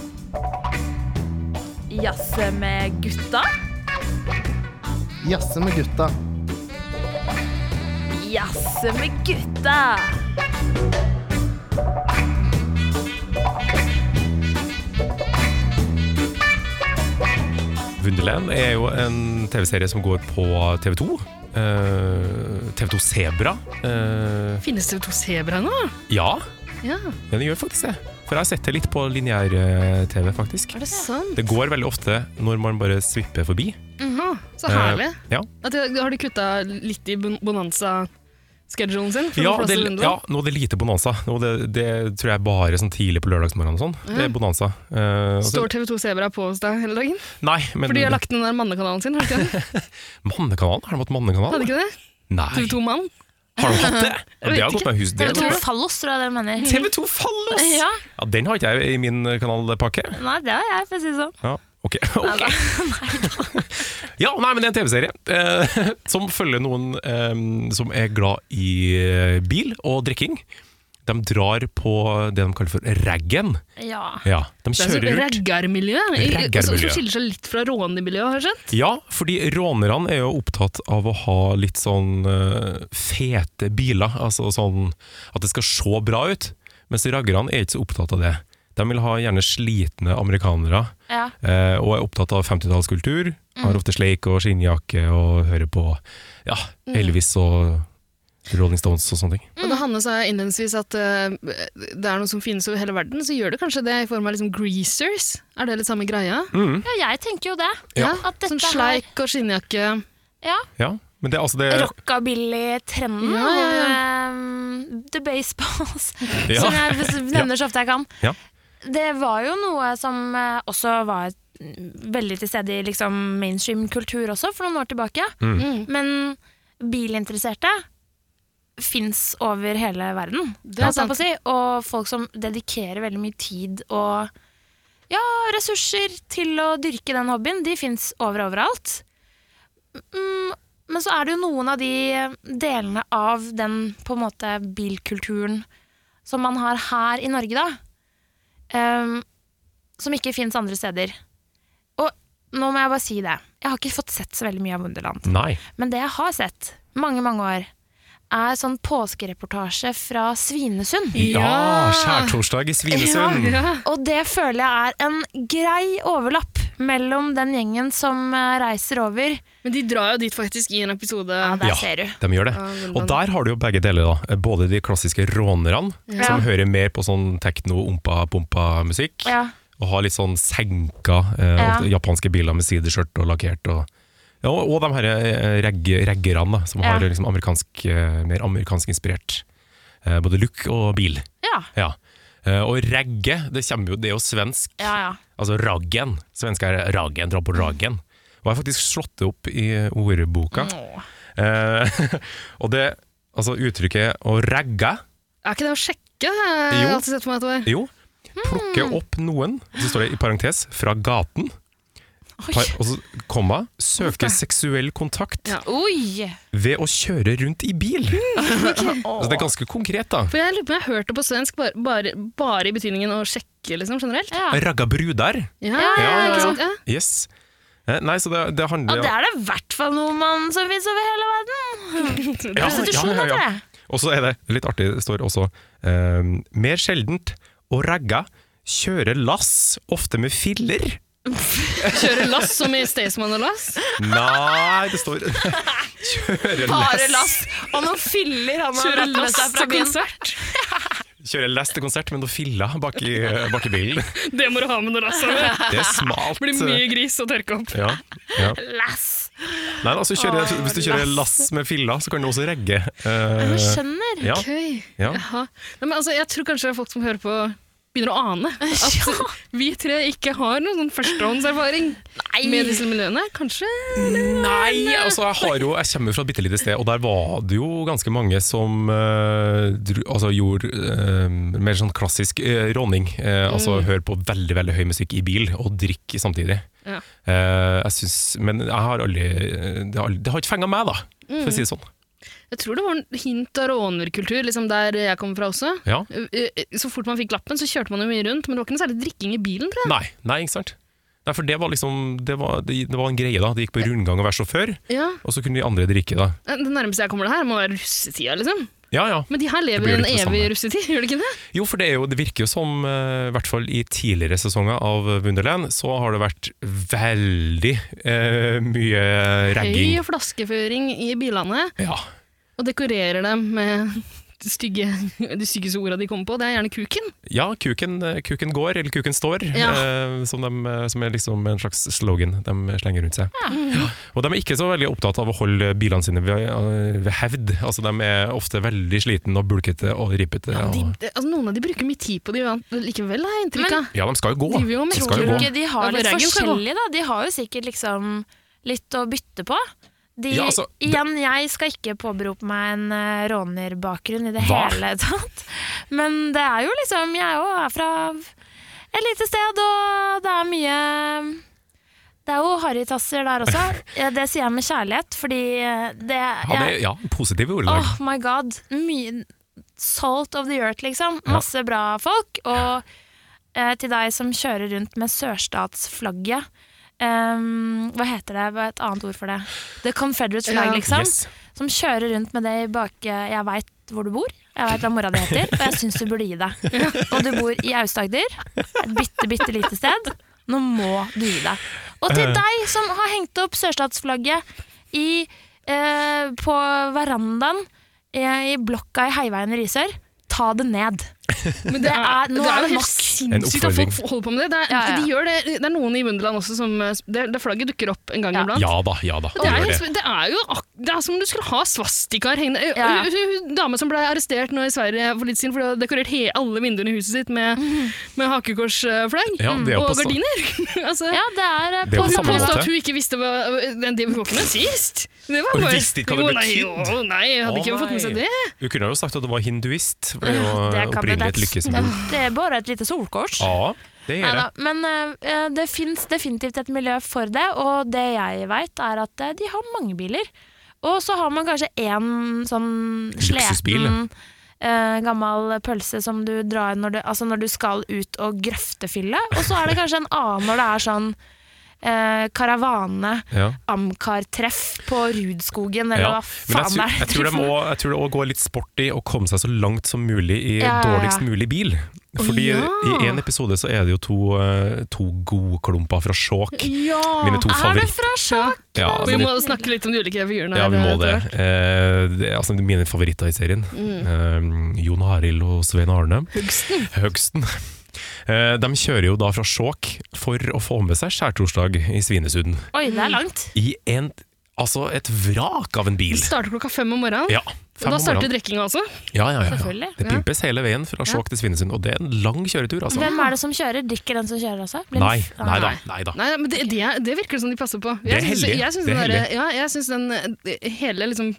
Speaker 6: Jazze med gutta.
Speaker 7: Jazze med gutta.
Speaker 6: Jazze med gutta.
Speaker 3: Wunderland er jo en TV-serie som går på TV2. Eh, TV2 Sebra. Eh,
Speaker 1: Finnes det to sebra nå?
Speaker 3: ja,
Speaker 1: Ja,
Speaker 3: ja, det gjør faktisk det. For jeg har sett det litt på lineær-TV, faktisk.
Speaker 1: er det sant?
Speaker 3: Det går veldig ofte når man bare svipper forbi.
Speaker 1: Aha, så
Speaker 3: Eh,
Speaker 1: herlig.
Speaker 3: ja.
Speaker 1: At de- har de kutta litt i bon- bonanza-schedulen sin? for å
Speaker 3: Ja,
Speaker 1: få plass
Speaker 3: det,
Speaker 1: til Runde?
Speaker 3: ja, nå er det lite bonanza. Nå er det, det tror jeg bare sånn tidlig på lørdagsmorgenen og sånn. Det er bonanza. Eh, og så-
Speaker 1: Står TV2 Sebra på hos deg hele dagen?
Speaker 3: Nei, men
Speaker 1: For de har lagt ned den der mannekanalen sin, har de ikke det?
Speaker 3: Mannekanalen? Har de hatt mannekanal?
Speaker 1: Hadde ikke det?
Speaker 3: Nei,
Speaker 1: TV2 Mann?
Speaker 3: har de hatt det? Ja, Det
Speaker 1: vet
Speaker 3: har gått
Speaker 1: ikke.
Speaker 3: meg hus. det
Speaker 2: TV
Speaker 3: har gått-
Speaker 2: 2 Fallos, tror jeg dere mener.
Speaker 3: TV2 Fallos!
Speaker 2: Ja.
Speaker 3: Ja, den har ikke jeg i min eh, kanalpakke.
Speaker 2: Nei, det har jeg, for å si det sånn.
Speaker 3: Ja, ok. Ok. ja, nei, men det er en TV-serie eh, som følger noen eh, som er glad i eh, bil og drikking. De drar på det de kaller for raggen.
Speaker 2: Ja.
Speaker 3: Ja, de
Speaker 1: Det er sånn
Speaker 3: kjører ut.
Speaker 1: raggarmiljø, i-
Speaker 3: Raggarmiljø.
Speaker 1: som som skiller seg litt fra rånemiljøet, har jeg skjønt.
Speaker 3: Ja, fordi rånerne er jo opptatt av å ha litt sånn eh, fete biler. Altså sånn at det skal se bra ut. Mens raggerne er ikke så opptatt av det. De vil ha gjerne slitne amerikanere.
Speaker 2: ja.
Speaker 3: Eh, og er opptatt av 50-tallskultur. Har ofte sleik og skinnjakke og hører på ja, Elvis og Rolling Stones og sånne ting.
Speaker 1: Og da Hanne sa innledningsvis at eh, det er noe som finnes over hele verden, så gjør det kanskje det i form av liksom greasers? Er det litt samme greia?
Speaker 2: ja, jeg tenker jo det.
Speaker 3: Mm. Ja.
Speaker 2: At dette
Speaker 1: Sånn sleik og skinnjakke.
Speaker 2: her ja,
Speaker 3: Ja, men det, er altså det,
Speaker 2: Rockabilly-trenden.
Speaker 1: Ja, ja,
Speaker 2: ehm, the Baseballs,
Speaker 3: Ja.
Speaker 2: som jeg bes- nevner så ofte jeg kan.
Speaker 3: Ja.
Speaker 2: Det var jo noe som eh, også var mm, veldig til stede i liksom, mainstream kultur også, for noen år tilbake. Men bilinteresserte fins over hele verden,
Speaker 1: Det er
Speaker 2: holdt jeg på å si. Og folk som dedikerer veldig mye tid og ja, ressurser til å dyrke den hobbyen, de fins over overalt. Mm, men så er det jo noen av de delene av den på en måte bilkulturen som man har her i Norge, da. ehm, som ikke fins andre steder. Og nå må jeg bare si det. Jeg har ikke fått sett så veldig mye av Wunderland.
Speaker 3: Nei.
Speaker 2: Men det jeg har sett mange, mange år, er sånn påskereportasje fra Svinesund.
Speaker 3: Ja, skjærtorsdag i Svinesund!
Speaker 1: Ja,
Speaker 2: Og det føler jeg er en grei overlapp mellom den gjengen som eh, reiser over.
Speaker 1: Men de drar jo dit faktisk i en episode.
Speaker 2: Der
Speaker 3: Ja.
Speaker 2: ser du.
Speaker 3: De gjør det. Og der har du jo begge deler, da. Både de klassiske rånerne, som hører mer på sånn tekno-ompa-pompa-musikk,
Speaker 2: Ja.
Speaker 3: og har litt sånn senka eh,
Speaker 2: Ja.
Speaker 3: ofte japanske biler med sideskjørt og lakkert. Og, ja, og og de her eh, regge- reggerne, da, som har
Speaker 2: Ja.
Speaker 3: liksom amerikansk, eh, mer amerikansk inspirert eh, både look og bil.
Speaker 2: Ja.
Speaker 3: Ja. Eh, og regge, det, kommer jo, det er jo svensk.
Speaker 2: Ja, ja.
Speaker 3: Altså raggen. Svensk er raggen, dra på raggen. Og jeg har faktisk slått det opp i ordboka. Eh, og det altså uttrykket å ragge
Speaker 1: Er ikke det å sjekke?
Speaker 3: Jo.
Speaker 1: Jeg har alltid sett for meg at det var
Speaker 3: Jo, plukke
Speaker 2: Hmm.
Speaker 3: opp noen, så står det i parentes, fra gaten. Par, og så komma, søke seksuell kontakt
Speaker 1: Ja.
Speaker 2: Oi!
Speaker 3: ved å kjøre rundt i bil.
Speaker 2: Hmm,
Speaker 3: Så det er ganske konkret, da.
Speaker 1: For jeg lurer på om jeg har hørt det på svensk bare, bare, bare i betydningen å sjekke, liksom, generelt.
Speaker 2: Ja.
Speaker 3: Ragga brudar.
Speaker 1: Ja,
Speaker 3: ja,
Speaker 1: ikke
Speaker 3: ja.
Speaker 1: sant? Ja.
Speaker 3: Yes. Eh, Nei, så det, det
Speaker 2: Ja,
Speaker 3: handler
Speaker 2: det er det i hvert fall noe man som fins over hele verden.
Speaker 3: Ja,
Speaker 2: Prostitusjon
Speaker 3: ja, ja, ja.
Speaker 2: heter det.
Speaker 3: Og så er det litt artig, det står også eh, Mer sjeldent å ragga kjøre lass, ofte med filler.
Speaker 1: Kjøre lass som i Staysman og Lass.
Speaker 3: Nei, det står Kjøre
Speaker 2: Bare
Speaker 3: lass.
Speaker 2: lass og noen filler han har
Speaker 1: Kjøre
Speaker 2: dratt med
Speaker 1: lass
Speaker 2: seg fra
Speaker 1: til
Speaker 2: byen.
Speaker 1: konsert.
Speaker 3: Kjøre lass til konsert med noen filler bak i, eh, bak i bilen.
Speaker 1: Det må du ha med når lassa er.
Speaker 3: Det er smalt. eh,
Speaker 1: Blir mye gris å tørke opp.
Speaker 3: ja, ja.
Speaker 2: Lass.
Speaker 3: Nei, altså, kjøre, hvis du kjører lass med filler, så kan du også regge. eh,
Speaker 2: Jeg skjønner.
Speaker 3: ja,
Speaker 1: Ok.
Speaker 3: ja.
Speaker 1: Jaha. Nei, men altså, jeg tror kanskje folk som hører på begynner å ane at vi tre ikke har noen sånn førstehåndserfaring med disse miljøene. Kanskje
Speaker 3: Nei! Altså, jeg, har jo, jeg kommer jo fra et bitte lite sted, og der var det jo ganske mange som eh, dro, altså, gjorde eh, mer sånn klassisk uh, råning. Eh, Altså høre på veldig veldig høy musikk i bil, og drikke samtidig.
Speaker 1: Ja.
Speaker 3: Eh, jeg syns, men jeg har aldri, eh, det, har, aldri- det har ikke fenga meg, da, for å si det sånn.
Speaker 1: Jeg tror det var en hint av rånerkultur liksom der jeg kommer fra også.
Speaker 3: Ja.
Speaker 1: Eh, eh, Så fort man fikk lappen, så kjørte man jo mye rundt, men det var ikke noe særlig drikking i bilen, tror jeg.
Speaker 3: Nei, nei, ikke sant? Nei, for det var liksom det var, det, det var en greie, da. Det gikk på rundgang å være sjåfør,
Speaker 1: Ja.
Speaker 3: og så kunne de andre drikke, da.
Speaker 1: Eh, Det nærmeste jeg kommer det her, må være russetida, liksom.
Speaker 3: Ja, ja.
Speaker 1: Men de her lever
Speaker 3: blir
Speaker 1: i
Speaker 3: jo
Speaker 1: en
Speaker 3: litt det
Speaker 1: evig
Speaker 3: samme.
Speaker 1: russetid, gjør de ikke det?
Speaker 3: Jo, for det, er jo, det virker jo som, eh, i hvert fall i tidligere sesonger av Wunderland, så har det vært veldig eh, mye ragging.
Speaker 1: Høy flaskeføring i bilene,
Speaker 3: Ja.
Speaker 1: og dekorerer dem med de stygge, de styggeste orda de kommer på. Det er gjerne kuken.
Speaker 3: Ja, kuken, eh, kuken går, eller kuken står,
Speaker 1: Ja.
Speaker 3: eh, som, de, eh, som er liksom en slags slogan de slenger rundt seg. Ja. Og de er ikke så veldig opptatt av å holde bilene sine ved, eh, ved hevd. Altså, de er ofte veldig slitne og bulkete og rippete.
Speaker 1: Ja, de,
Speaker 3: og,
Speaker 1: de- altså, noen av de bruker mye tid på det ja, likevel, har jeg inntrykk av.
Speaker 3: ja, de skal jo gå.
Speaker 1: Driver jo og
Speaker 3: De
Speaker 1: mekker
Speaker 3: skal
Speaker 2: Tror
Speaker 3: jo
Speaker 2: du
Speaker 1: rundt.
Speaker 3: gå.
Speaker 2: ikke de har
Speaker 1: Ja,
Speaker 2: litt
Speaker 1: hverdagen skal gå.
Speaker 2: forskjellig, da? De har jo sikkert liksom litt å bytte på. De,
Speaker 3: Ja, altså, det-
Speaker 2: igjen, jeg skal ikke påberope meg en eh, rånerbakgrunn i det
Speaker 3: Hva?
Speaker 2: hele tatt. Men det er jo liksom Jeg òg er fra et lite sted, og det er mye Det er jo harrytasser der også. Ja, Det sier jeg med kjærlighet, fordi eh, det
Speaker 3: Ja, det,
Speaker 2: jeg-
Speaker 3: ja, positive ordelag.
Speaker 2: Oh my god. Mye salt of the earth, liksom. Masse bra folk. Og eh, til deg som kjører rundt med sørstatsflagget. ehm, hva heter det? Hva er et annet ord for det? The Confederate flag,
Speaker 1: Ja.
Speaker 2: liksom.
Speaker 3: Yes.
Speaker 2: Som kjører rundt med det i bak Jeg veit hvor du bor, jeg veit hva mora di heter, og jeg syns du burde gi deg. Og du bor i Aust-Agder, et bitte, bitte lite sted. Nå må du gi deg. Og til deg som har hengt opp sørstatsflagget i, eh, på verandaen eh, i blokka i Heiveien i Risør, ta det ned.
Speaker 1: Men
Speaker 2: Det er- nå
Speaker 1: det
Speaker 2: er
Speaker 1: er
Speaker 2: det
Speaker 1: jo
Speaker 2: nok.
Speaker 1: helt sinnssykt at folk holder på med det. Det er,
Speaker 2: Ja, ja.
Speaker 1: De gjør det. det er noen i Wunderland også som eh, det, det flagget dukker opp en gang
Speaker 2: Ja.
Speaker 1: iblant.
Speaker 3: Ja da, ja da.
Speaker 1: Det
Speaker 3: gjør
Speaker 1: er, jo, det er jo ak det er som om du skulle ha svastikaer hengende.
Speaker 2: Ja.
Speaker 1: Hun- hun- hun Dame som ble arrestert nå i Sverige for litt siden fordi hun hadde dekorert he alle vinduene i huset sitt med, med hakekorsflagg
Speaker 3: Ja, det er jo
Speaker 1: og
Speaker 3: på sa-
Speaker 1: gardiner. altså,
Speaker 2: Ja, det er eh,
Speaker 3: Det er
Speaker 2: på
Speaker 1: Og
Speaker 3: på
Speaker 1: hun
Speaker 3: samme
Speaker 1: påstod
Speaker 3: måte.
Speaker 1: at hun ikke visste hva den de var våkne sist. Det var
Speaker 3: Hun
Speaker 1: bare-
Speaker 3: visste ikke hva det
Speaker 1: Jo,
Speaker 3: betydde.
Speaker 1: Nei, jo, nei, jeg hadde
Speaker 3: Å,
Speaker 1: ikke fått med seg
Speaker 3: nei.
Speaker 1: det.
Speaker 3: Du kunne jo sagt at du var hinduist. For det er jo
Speaker 2: Det kan bli
Speaker 3: opprinnelig et
Speaker 2: det.
Speaker 3: lykkesmål.
Speaker 2: Det er bare et lite solkors.
Speaker 3: Ja, det gjør det.
Speaker 2: Neida, men eh, det fins definitivt et miljø for det, og det jeg veit, er at eh, de har mange biler. Og så har man kanskje én sånn
Speaker 3: Luksusbil, ja.
Speaker 2: sliten eh, gammel pølse som du drar når du, altså når du skal ut og grøftefylle, og så er det kanskje en annen når det er sånn eh, karavane,
Speaker 3: Ja.
Speaker 2: Amcar-treff på Rudskogen, eller
Speaker 3: Ja.
Speaker 2: hva
Speaker 3: Men
Speaker 2: faen
Speaker 3: jeg, tror, jeg, tror det
Speaker 2: for noe?
Speaker 3: må, jeg tror det også går litt sport i å komme seg så langt som mulig i
Speaker 2: Ja, ja, ja.
Speaker 3: dårligst mulig bil. Fordi
Speaker 1: ja.
Speaker 3: i én episode så er det jo to, eh, to godklumper fra Skjåk.
Speaker 1: Ja.
Speaker 3: Mine to
Speaker 2: Er det
Speaker 3: favoritter.
Speaker 2: fra Skjåk?
Speaker 3: Ja,
Speaker 1: Vi
Speaker 3: mine-
Speaker 1: må snakke litt om de ulike figurene.
Speaker 3: Altså, ja,
Speaker 1: her,
Speaker 3: vi må det.
Speaker 1: etter hvert.
Speaker 3: Eh, det er altså mine favoritter i serien. Eh, Jon Arild og Svein Arne.
Speaker 1: Hugsten.
Speaker 3: Høgsten. Eh, de kjører jo da fra Skjåk for å få med seg skjærtorsdag i Svinesund.
Speaker 2: Oi, det er langt.
Speaker 3: I en, altså et vrak av en
Speaker 1: Det
Speaker 3: bil.
Speaker 1: starter klokka fem om morgenen.
Speaker 3: Ja,
Speaker 1: og
Speaker 3: fem
Speaker 1: da
Speaker 3: om
Speaker 1: starter
Speaker 3: morgenen.
Speaker 1: drikkinga også.
Speaker 3: Ja, ja, ja, ja.
Speaker 2: Selvfølgelig.
Speaker 3: Det pimpes hele veien fra Skjåk til Svinesund, og det er en lang kjøretur, altså.
Speaker 2: Hvem er det som kjører? Drikker den som kjører også? Blir den-
Speaker 3: Nei, nei da.
Speaker 1: Nei.
Speaker 3: Nei da.
Speaker 1: Nei, men det, det, er- det virker som de passer på.
Speaker 3: Det er
Speaker 1: synes-
Speaker 3: heldig.
Speaker 1: Jeg syns
Speaker 3: Det
Speaker 1: den,
Speaker 3: er
Speaker 1: derre- ja, jeg synes den eh, hele liksom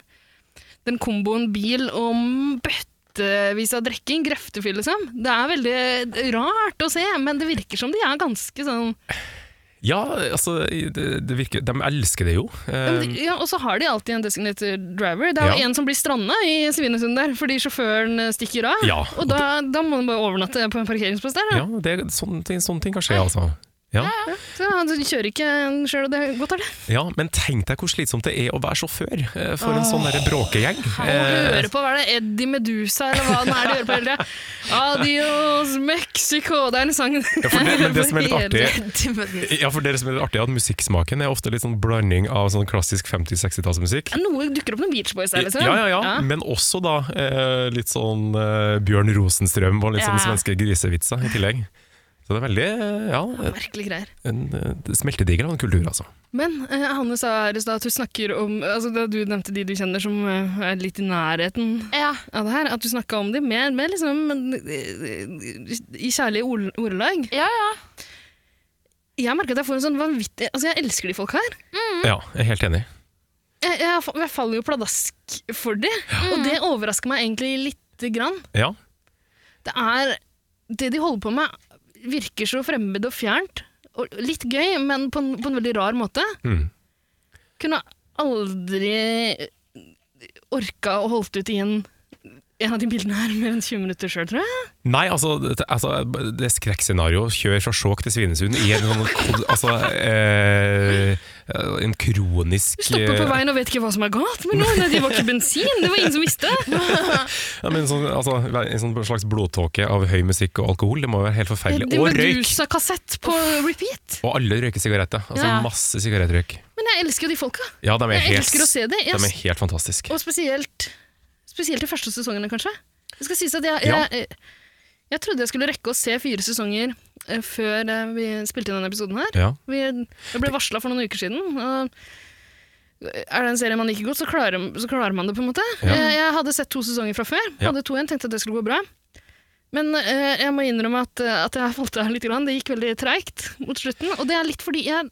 Speaker 1: Den komboen bil og bøttevis av drikking, grøftefyll, liksom. Det er veldig rart å se, men det virker som de er ganske sånn
Speaker 3: Ja, altså, det, det virker De elsker det jo.
Speaker 1: Ja,
Speaker 3: Eh,
Speaker 1: men de- ja, og så har de alltid en designated driver. Det er jo
Speaker 3: Ja.
Speaker 1: en som blir stranda i Svinesund der, fordi sjåføren eh, stikker av.
Speaker 3: Ja, og
Speaker 1: og da, da må han bare overnatte på en parkeringsplass der. Da.
Speaker 3: Eh, ja, det, er- sånne, ting, sånne ting kan skje, altså. Ja.
Speaker 1: Så han kjører ikke sjøl, og det er godt er det.
Speaker 3: ja, Men tenk deg hvor slitsomt det er å være sjåfør eh, for en sånn derre bråkegjeng.
Speaker 1: Og
Speaker 3: Eh,
Speaker 1: høre på hva er det Eddie Medusa eller hva den er de hører på hele tida. Adios Mexico! Det er en sang.
Speaker 3: ja, for det, men det som er litt artig
Speaker 2: Timothy.
Speaker 3: ja, for dere som er litt artig, er at Musikksmaken er ofte litt sånn blanding av sånn klassisk 50-60-tallsmusikk
Speaker 1: Noe dukker opp noen Beach Boys der, liksom.
Speaker 3: Ja, ja, ja, men også da eh, litt sånn eh, Bjørn Rosenstrøm og litt
Speaker 2: Ja.
Speaker 3: sånn svenske grisevitser i tillegg. Så det er veldig eh, ja,
Speaker 1: Merkelige greier.
Speaker 3: en eh, smeltediger av en kultur, altså.
Speaker 1: Men eh, Hanne sa her i stad at du snakker om altså da Du nevnte de du kjenner som eh, er litt i nærheten
Speaker 2: Ja.
Speaker 1: av det her. At du snakka om de mer, mer liksom, men, eh, i kjærlige ord- ordelag.
Speaker 2: Ja, ja.
Speaker 1: Jeg merker at jeg får en sånn vanvittig Altså, jeg elsker de folk her.
Speaker 3: Ja, jeg er helt enig.
Speaker 1: Jeg, jeg, fa- jeg faller jo pladask for de, og det overrasker meg egentlig lite grann.
Speaker 3: Ja,
Speaker 1: Det er Det de holder på med, virker så fremmed og fjernt. Og litt gøy, men på en, på en veldig rar måte.
Speaker 3: mm.
Speaker 1: Kunne aldri orka å holdt ut i en en av de bildene her mer enn 20 minutter sjøl, tror jeg.
Speaker 3: Nei, altså, det, altså, det skrekkscenarioet kjør fra Skjåk til Svinesund i en sånn kod- Altså eh, En kronisk
Speaker 1: Du stopper på
Speaker 3: eh,
Speaker 1: veien og vet ikke hva som er galt med noen. Det var ikke bensin, det var ingen som visste.
Speaker 3: ja, men sånn, altså, En sånn slags blodtåke av høy musikk og alkohol. Det må være helt forferdelig.
Speaker 1: Det
Speaker 3: Og
Speaker 1: var
Speaker 3: røyk!
Speaker 1: Medusa-kassett på repeat.
Speaker 3: Og alle røyker sigaretter. Altså
Speaker 2: Ja.
Speaker 3: masse sigarettrøyk.
Speaker 1: Men jeg elsker jo de folka.
Speaker 3: Ja, de er
Speaker 1: Jeg
Speaker 3: helt,
Speaker 1: elsker å se det.
Speaker 3: de
Speaker 1: Jeg
Speaker 3: er helt fantastiske.
Speaker 1: Og spesielt, spesielt de første sesongene, kanskje. Det skal sies at jeg,
Speaker 3: Ja.
Speaker 1: jeg, jeg, jeg trodde jeg skulle rekke å se fire sesonger eh, før eh, vi spilte inn denne episoden her.
Speaker 3: Ja.
Speaker 1: Vi, jeg ble varsla for noen uker siden. Og er det en serie man liker godt, så klarer, så klarer man det, på en måte.
Speaker 3: Ja.
Speaker 1: Jeg, jeg hadde sett to sesonger fra før.
Speaker 3: Ja.
Speaker 1: Hadde to igjen, tenkte at det skulle gå bra. Men eh, jeg må innrømme at, eh, at jeg falt av litt. Grann. Det gikk veldig treigt mot slutten. Og det er litt fordi jeg,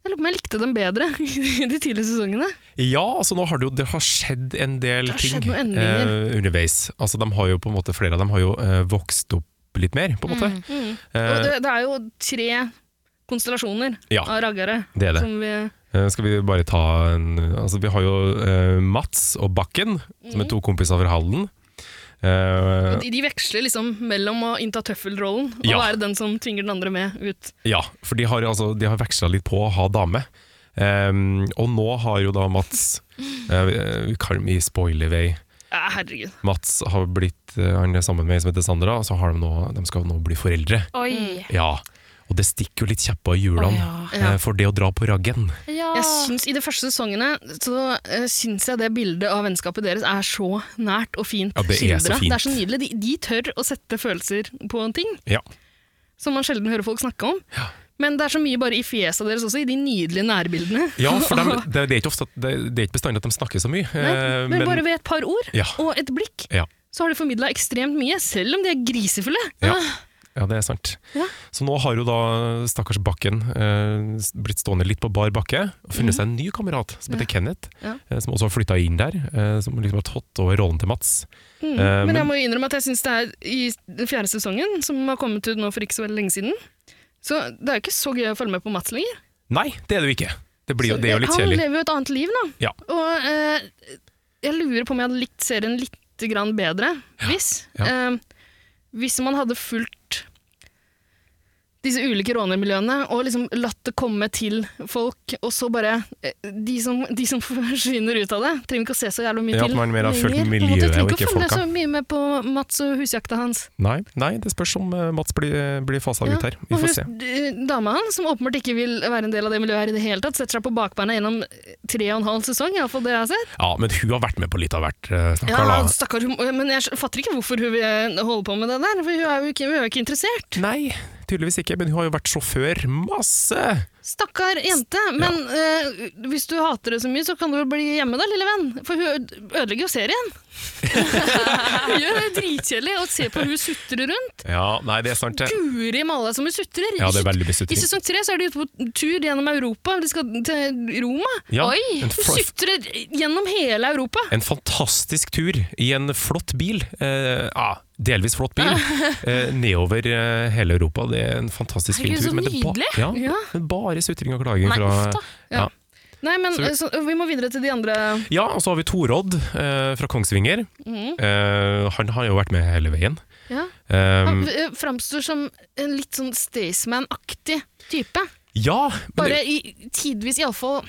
Speaker 1: jeg lurer på om jeg likte dem bedre i de tidlige sesongene.
Speaker 3: Ja, altså nå har det jo det har skjedd en del
Speaker 1: Det har
Speaker 3: ting
Speaker 1: skjedd noen endringer.
Speaker 3: eh, underveis. Altså de har jo på en måte, Flere av dem har jo eh, vokst opp litt mer, på en måte.
Speaker 1: Mm, Og
Speaker 3: Eh,
Speaker 1: det, det er jo tre konstellasjoner
Speaker 3: Ja.
Speaker 1: av raggere.
Speaker 3: det er det.
Speaker 1: Som vi,
Speaker 3: Eh, skal vi bare ta en Altså vi har jo eh, Mats og Bakken, som er to kompiser fra Halden. Eh,
Speaker 1: Mm. og de, de veksler liksom mellom å innta tøffelrollen og
Speaker 3: Ja.
Speaker 1: være den som tvinger den andre med ut.
Speaker 3: Ja, for de har, altså, de har veksla litt på å ha dame. Ehm, og nå har jo da Mats eh, Vi kan i spoiler-vei.
Speaker 1: Ja, herregud.
Speaker 3: Mats har blitt eh, han er sammen med ei som heter Sandra, og så har de, nå, de skal nå bli foreldre.
Speaker 2: Oi.
Speaker 3: Ja, Og det stikker jo litt kjepper i
Speaker 2: Å,
Speaker 3: hjulene
Speaker 2: ja.
Speaker 1: Ja.
Speaker 3: eh, for det å dra på raggen.
Speaker 2: ja.
Speaker 1: Jeg syns, I de første sesongene så uh, syns jeg det bildet av vennskapet deres er så nært og fint
Speaker 3: Ja, det er så
Speaker 1: skildret.
Speaker 3: fint.
Speaker 1: Det er så nydelig. De, de tør å sette følelser på en ting
Speaker 3: Ja.
Speaker 1: som man sjelden hører folk snakke om. Men det er så mye bare i fjeset deres også, i de nydelige nærbildene.
Speaker 3: Ja, for dem- det, det er ikke ofte at- det, det er ikke bestandig at de snakker så mye.
Speaker 1: Nei,
Speaker 3: eh,
Speaker 1: men, bare ved et par ord
Speaker 3: ja,
Speaker 1: og et blikk,
Speaker 3: Ja.
Speaker 1: så har de formidla ekstremt mye, selv om de er grisefulle. Ah,
Speaker 3: Ja. ja, det er sant.
Speaker 1: Ja.
Speaker 3: Så nå har jo da stakkars Bakken eh, s- blitt stående litt på bar bakke og funnet seg en ny kamerat som heter Kenneth,
Speaker 1: Ja.
Speaker 3: eh, som også har flytta inn der. Eh, som liksom har tatt over rollen til Mats.
Speaker 1: Mm.
Speaker 3: Eh,
Speaker 1: men
Speaker 3: men-
Speaker 1: jeg må jo innrømme at jeg syns det er i den fjerde sesongen, som har kommet ut nå for ikke så veldig lenge siden. Så det er jo ikke så gøy å følge med på Mats lenger.
Speaker 3: Nei, det er det jo ikke. Det, blir jo, det er jo litt
Speaker 1: Han
Speaker 3: kjedelig.
Speaker 1: lever jo et annet liv nå.
Speaker 3: Ja.
Speaker 1: Og eh, jeg lurer på om jeg hadde likt serien litt grann bedre hvis
Speaker 3: Ja.
Speaker 1: eh, Hvis man hadde fulgt disse ulike rånermiljøene og liksom latt det komme til folk, og så bare eh, De som, de som forsvinner ut av det, trenger ikke å se så jævlig mye
Speaker 3: Ja, at
Speaker 1: til
Speaker 3: man mer har fulgt
Speaker 1: lenger, på en måte.
Speaker 3: miljøet
Speaker 1: Jeg trenger
Speaker 3: og
Speaker 1: ikke å
Speaker 3: ikke
Speaker 1: følge
Speaker 3: folka.
Speaker 1: så mye med på Mats og husjakta hans.
Speaker 3: Nei, nei, det spørs om eh, Mats blir, blir fasa
Speaker 1: Ja,
Speaker 3: ut her. Vi
Speaker 1: Og
Speaker 3: får
Speaker 1: hun,
Speaker 3: se.
Speaker 1: d- dama hans, som åpenbart ikke vil være en del av det miljøet her i det hele tatt, setter seg på bakbeina gjennom tre og en halv sesong, iallfall det jeg har sett.
Speaker 3: Ja, men hun har vært med på litt av hvert, eh,
Speaker 1: Ja,
Speaker 3: stakkar. da.
Speaker 1: stakkar, hun, men jeg fatter ikke hvorfor hun vil eh, holde på med det der, for hun er jo ikke, hun er jo ikke interessert.
Speaker 3: Nei, tydeligvis ikke, men hun har jo vært sjåfør masse!
Speaker 1: Stakkar jente, men eh, hvis du hater det så mye, så kan du vel bli hjemme da, lille venn? For hun øde- ødelegger jo serien. hun gjør det dritkjedelig å se på hun sutrer rundt.
Speaker 3: Ja, nei, det er sant. det.
Speaker 1: Guri malla som hun sutrer.
Speaker 3: Ja, det er veldig
Speaker 1: I
Speaker 3: besutring.
Speaker 1: sesong tre så er de ute på tur gjennom Europa, de skal til Roma.
Speaker 3: Ja,
Speaker 2: Oi,
Speaker 3: en
Speaker 1: Hun
Speaker 3: fl-
Speaker 1: sutrer gjennom hele Europa.
Speaker 3: En fantastisk tur i en flott bil. Eh, ja, delvis flott bil. Eh, nedover eh, hele Europa. Det er en fantastisk fin
Speaker 2: Herregud,
Speaker 3: tur.
Speaker 2: så
Speaker 3: det ba-
Speaker 2: nydelig!
Speaker 3: ja,
Speaker 1: Ja.
Speaker 3: men bare sutring og klaging.
Speaker 2: Nei, uff
Speaker 3: Fra,
Speaker 2: da.
Speaker 1: Nei, men
Speaker 3: Så-
Speaker 1: eh, så, Vi må videre til de andre.
Speaker 3: ja, og så har vi Torodd eh, fra Kongsvinger.
Speaker 1: Mhm.
Speaker 2: Mm.
Speaker 3: Eh, han har jo vært med hele veien.
Speaker 1: Ja.
Speaker 3: Eh,
Speaker 1: Han eh, framstår som en litt sånn Staysman-aktig type.
Speaker 3: ja, men det,
Speaker 1: Bare i, tidvis iallfall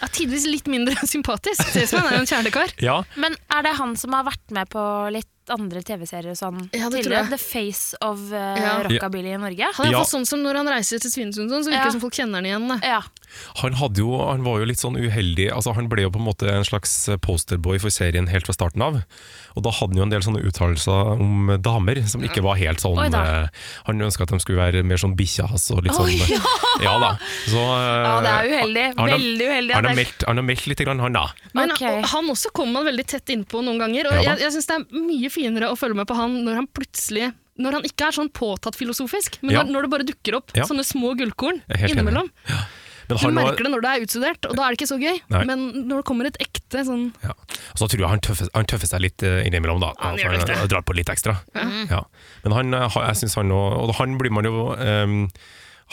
Speaker 1: ja, Tidvis litt mindre sympatisk. Staysman er jo en kjernekar.
Speaker 3: ja,
Speaker 2: Men er det han som har vært med på litt andre TV-serier og sånn?
Speaker 1: Ja, det tror
Speaker 2: tidligere?
Speaker 1: jeg.
Speaker 2: The Face of eh,
Speaker 1: Ja.
Speaker 2: Rockabilly i Norge?
Speaker 1: Han er
Speaker 3: Ja.
Speaker 1: iallfall sånn som når han reiser til Svinesund, og sånn, så virker
Speaker 2: Ja.
Speaker 1: det som folk kjenner han igjen. Da.
Speaker 2: Ja.
Speaker 3: Han, hadde jo, han var jo litt sånn uheldig altså Han ble jo på en måte en slags posterboy for serien helt fra starten av. Og da hadde han jo en del sånne uttalelser om damer som ikke var helt sånn
Speaker 2: Oi da.
Speaker 3: eh, Han ønska at de skulle være mer sånn bikkja hans og litt sånn ja. da. Så,
Speaker 2: Ja, det er
Speaker 3: eh,
Speaker 2: uheldig.
Speaker 3: han har-
Speaker 2: Veldig uheldig. at
Speaker 3: Han har
Speaker 2: det-
Speaker 3: meldt, han har meldt litt, grann, han da.
Speaker 1: Men
Speaker 2: Ok.
Speaker 1: og han også kom man veldig tett innpå noen ganger, og
Speaker 3: Ja da.
Speaker 1: jeg, jeg syns det er mye finere å følge med på han når han plutselig når han ikke er sånn påtatt filosofisk, men
Speaker 3: Ja.
Speaker 1: når, når det bare dukker opp
Speaker 3: Ja.
Speaker 1: sånne små gullkorn
Speaker 3: Jeg er helt enig.
Speaker 1: innimellom.
Speaker 3: Men
Speaker 1: Du
Speaker 3: han var-
Speaker 1: merker det når det er utstudert, og da er det ikke så gøy.
Speaker 3: Nei.
Speaker 1: Men når det kommer et ekte sånn
Speaker 3: Ja. Og så tror jeg han tøffer, han tøffer seg litt eh, innimellom, da.
Speaker 1: Han gjør
Speaker 3: Altså,
Speaker 1: nok det. Mhm.
Speaker 3: drar på litt ekstra. Ja. Men han, eh, har- jeg synes han òg Og han blir man jo ehm,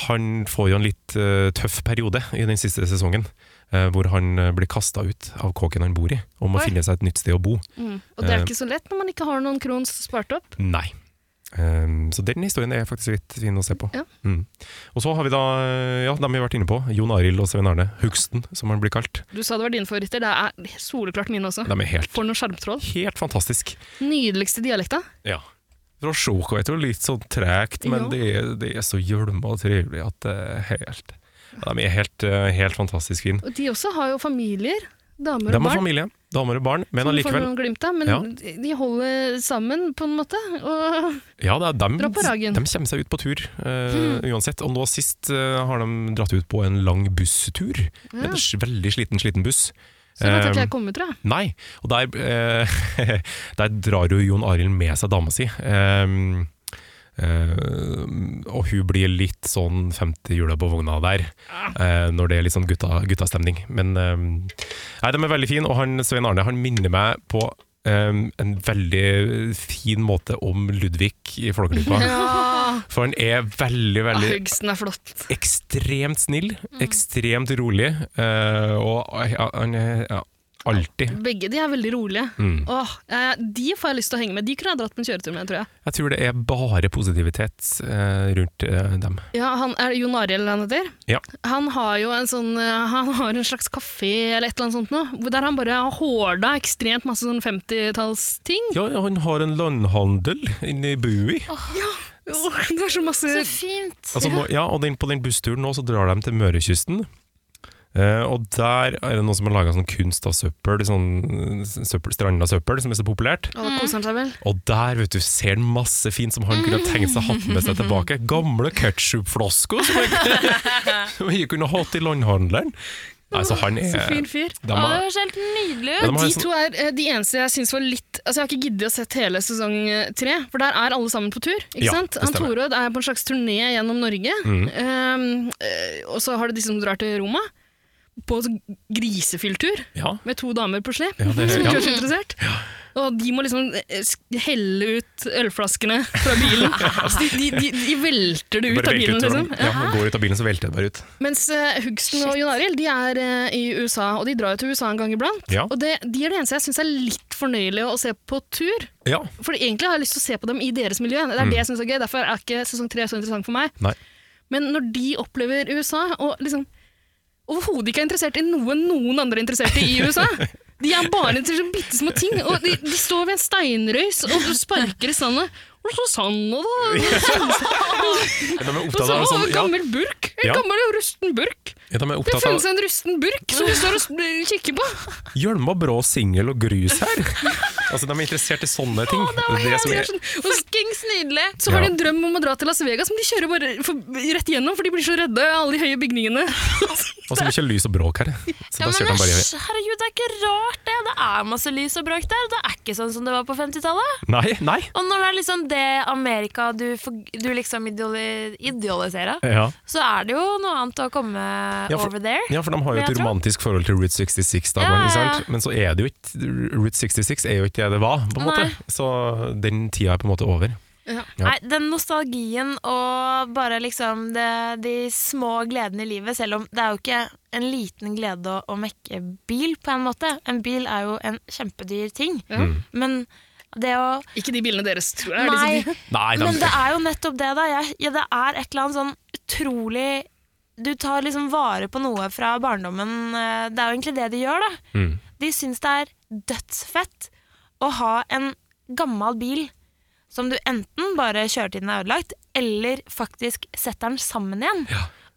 Speaker 3: Han får jo en litt eh, tøff periode i den siste sesongen. eh, hvor han eh, blir kasta ut av kåken han bor i, og må
Speaker 2: Oi.
Speaker 3: finne seg et nytt sted å bo.
Speaker 1: mm, Og det
Speaker 3: Eh.
Speaker 1: er ikke så lett når man ikke har noen krons spart opp.
Speaker 3: Nei. Ehm, så den historien er faktisk litt fin å se på.
Speaker 1: Ja.
Speaker 3: Mm. Og så har vi da, eh, ja, dem vi har vært inne på, Jon Arild og Svein Arne. Hugsten, som han blir kalt.
Speaker 1: Du sa det var dine favoritter, det er soleklart mine også.
Speaker 3: De er helt,
Speaker 1: For noen sjarmtroll.
Speaker 3: helt fantastisk.
Speaker 1: Nydeligste dialekta.
Speaker 3: Ja. Fra Sjoko er det jo litt sånn tregt, men
Speaker 1: Ja.
Speaker 3: det, er, det er så gjølma og trivelig at det er helt ja, De er helt, eh, helt fantastisk fine.
Speaker 1: Og de også har jo familier.
Speaker 3: De
Speaker 1: Damer og
Speaker 3: har
Speaker 1: barn.
Speaker 3: familie, damer og barn, men
Speaker 1: som får
Speaker 3: allikevel
Speaker 1: noen glimt av, men
Speaker 3: Ja.
Speaker 1: de holder sammen på en måte. Og
Speaker 3: ja, det er dem,
Speaker 1: Dra på ragen. Hmm.
Speaker 3: de kommer seg ut på tur eh, uansett. Og nå sist eh, har de dratt ut på en lang busstur. Med en s- veldig sliten, sliten buss.
Speaker 1: Så langt har ikke
Speaker 3: Eh,
Speaker 1: jeg kommet, tror jeg.
Speaker 3: Nei, og der, eh, der drar jo Jon Arild med seg dama si. Ehm, eh, og hun blir litt sånn femte hjula på vogna der, eh, når det er litt sånn gutta, guttastemning. Men ehm, nei, de er veldig fine, og han, Svein Arne han minner meg på ehm, en veldig fin måte om Ludvig i Flåklypa.
Speaker 1: Ja,
Speaker 3: For han er veldig, veldig
Speaker 1: Hugsten er flott.
Speaker 3: ekstremt snill, ekstremt rolig, eh, og ja, han er ja, alltid
Speaker 1: Begge de er veldig rolige.
Speaker 3: mm.
Speaker 1: Åh, eh, de får jeg lyst til å henge med. De kunne jeg dratt på en kjøretur med, tror jeg.
Speaker 3: Jeg tror det er bare positivitet eh, rundt eh, dem.
Speaker 1: Ja, han er Jon Arild han heter.
Speaker 3: Ja.
Speaker 1: Han har jo en sånn eh, Han har en slags kafé eller et eller annet sånt noe, hvor- der han bare har horda ekstremt masse sånn 50-tallsting.
Speaker 3: Ja, han har en landhandel inne i Bui.
Speaker 1: Åh, Det er så
Speaker 2: Så
Speaker 1: masse
Speaker 2: fint.
Speaker 3: Altså, nå, ja, og den, på den bussturen nå så drar de til Mørekysten. Eh, og der er det noen som har laga sånn kunst av søppel, sånn søppel, stranda søppel, som er så populært.
Speaker 1: Å, da koser han seg vel.
Speaker 3: Og der vet du, ser han masse fint som han kunne tenkt seg å ha med seg tilbake. Gamle ketsjupflasker som jeg- som jeg kunne hatt i landhandelen. Nei, så han er
Speaker 1: Så fin fyr.
Speaker 2: Å,
Speaker 3: de
Speaker 2: det
Speaker 3: har-
Speaker 2: høres helt nydelig
Speaker 3: Ja,
Speaker 2: ut.
Speaker 3: de har en
Speaker 1: De
Speaker 3: sånn-
Speaker 1: to er eh, de eneste jeg syns var litt Altså Jeg har ikke giddet å sett hele sesong eh, tre, for der er alle sammen på tur. Ikke
Speaker 3: Ja,
Speaker 1: sant?
Speaker 3: det
Speaker 1: Han
Speaker 3: stemmer.
Speaker 1: Torodd er på en slags turné gjennom Norge,
Speaker 3: Mm.
Speaker 1: ehm, eh, og så har du de som drar til Roma. På en grisefull tur
Speaker 3: ja,
Speaker 1: med to damer på slep,
Speaker 3: Ja, det-
Speaker 1: som ikke
Speaker 3: ja.
Speaker 1: er så interessert. Og de må liksom eh, sk- helle ut ølflaskene fra bilen. Så de, de, de, de velter det ut
Speaker 3: bare
Speaker 1: av bilen,
Speaker 3: velter ut.
Speaker 1: liksom.
Speaker 3: Ja, man går ut av bilen, så velter det bare ut.
Speaker 1: Mens eh, Hugsten og Jon Arild de er eh, i USA, og de drar jo til USA en gang iblant.
Speaker 3: Ja.
Speaker 1: Og det, de er det eneste jeg syns er litt fornøyelig å se på tur.
Speaker 3: Ja,
Speaker 1: For egentlig har jeg lyst til å se på dem i deres miljø. Det er det jeg synes er gøy, Derfor er ikke sesong tre så interessant for meg.
Speaker 3: Mm. Nei.
Speaker 1: Men når de opplever USA, og liksom overhodet ikke er interessert i noe noen andre er interessert i i USA De er bare interessert i bitte små ting, og de, de står ved en steinrøys og sparker i sandet. Og så sanda, da!
Speaker 3: de er
Speaker 1: Og
Speaker 3: opptatt
Speaker 1: så
Speaker 3: av en
Speaker 1: å,
Speaker 3: sånn,
Speaker 1: en
Speaker 3: ja,
Speaker 1: gammel burk! En
Speaker 3: Ja.
Speaker 1: gammel og rusten burk!
Speaker 3: ja, de er
Speaker 1: Det
Speaker 3: opptatt
Speaker 1: funnes
Speaker 3: av
Speaker 1: en rusten burk som du står og s- kikker på.
Speaker 3: Hjelma Brå singel og grus her. altså, de er interessert i sånne ting. det er det som
Speaker 1: Det er
Speaker 3: er,
Speaker 1: sånn, og s-
Speaker 2: Fuckings nydelig.
Speaker 1: så har de
Speaker 3: Ja.
Speaker 1: en drøm om å dra til Las Vegas, men de kjører bare for, rett gjennom, for de blir så redde av alle de høye bygningene.
Speaker 3: og så altså, mye lys og bråk her. Så
Speaker 2: Ja,
Speaker 3: da
Speaker 2: men
Speaker 3: kjørte han bare
Speaker 2: æsj, herregud, det er ikke rart det. Det er masse lys og bråk der. Det er ikke sånn som det var på 50-tallet.
Speaker 3: Nei, nei.
Speaker 2: Og når det er liksom det Amerika du, for- du liksom ideali- idealiserer,
Speaker 3: Ja.
Speaker 2: så er det jo noe annet å komme
Speaker 3: Ja, for-
Speaker 2: over there.
Speaker 3: ja, for de har jo
Speaker 2: Men jeg
Speaker 3: et
Speaker 2: tror-
Speaker 3: romantisk forhold til Route 66, da,
Speaker 2: Ja,
Speaker 3: barn, ikke
Speaker 2: ja, ja.
Speaker 3: sant? men så er det jo ikke Route 66 er jo ikke det det var, på en måte.
Speaker 2: Nei.
Speaker 3: Så den tida er på en måte over. Ja.
Speaker 2: Nei, den nostalgien og bare liksom det, de små gledene i livet, selv om det er jo ikke en liten glede å, å mekke bil, på en måte. En bil er jo en kjempedyr ting.
Speaker 3: Mm.
Speaker 2: Men det å
Speaker 1: Ikke de bilene deres, tror jeg. er
Speaker 2: Nei,
Speaker 1: liksom-
Speaker 3: Nei, de,
Speaker 2: Men det er jo nettopp det, da. Jeg, ja, det er et eller annet sånn utrolig Du tar liksom vare på noe fra barndommen. eh, Det er jo egentlig det de gjør, da.
Speaker 3: Mm.
Speaker 2: De syns det er dødsfett å ha en gammel bil som du enten bare kjører til den er ødelagt, eller faktisk setter den sammen igjen.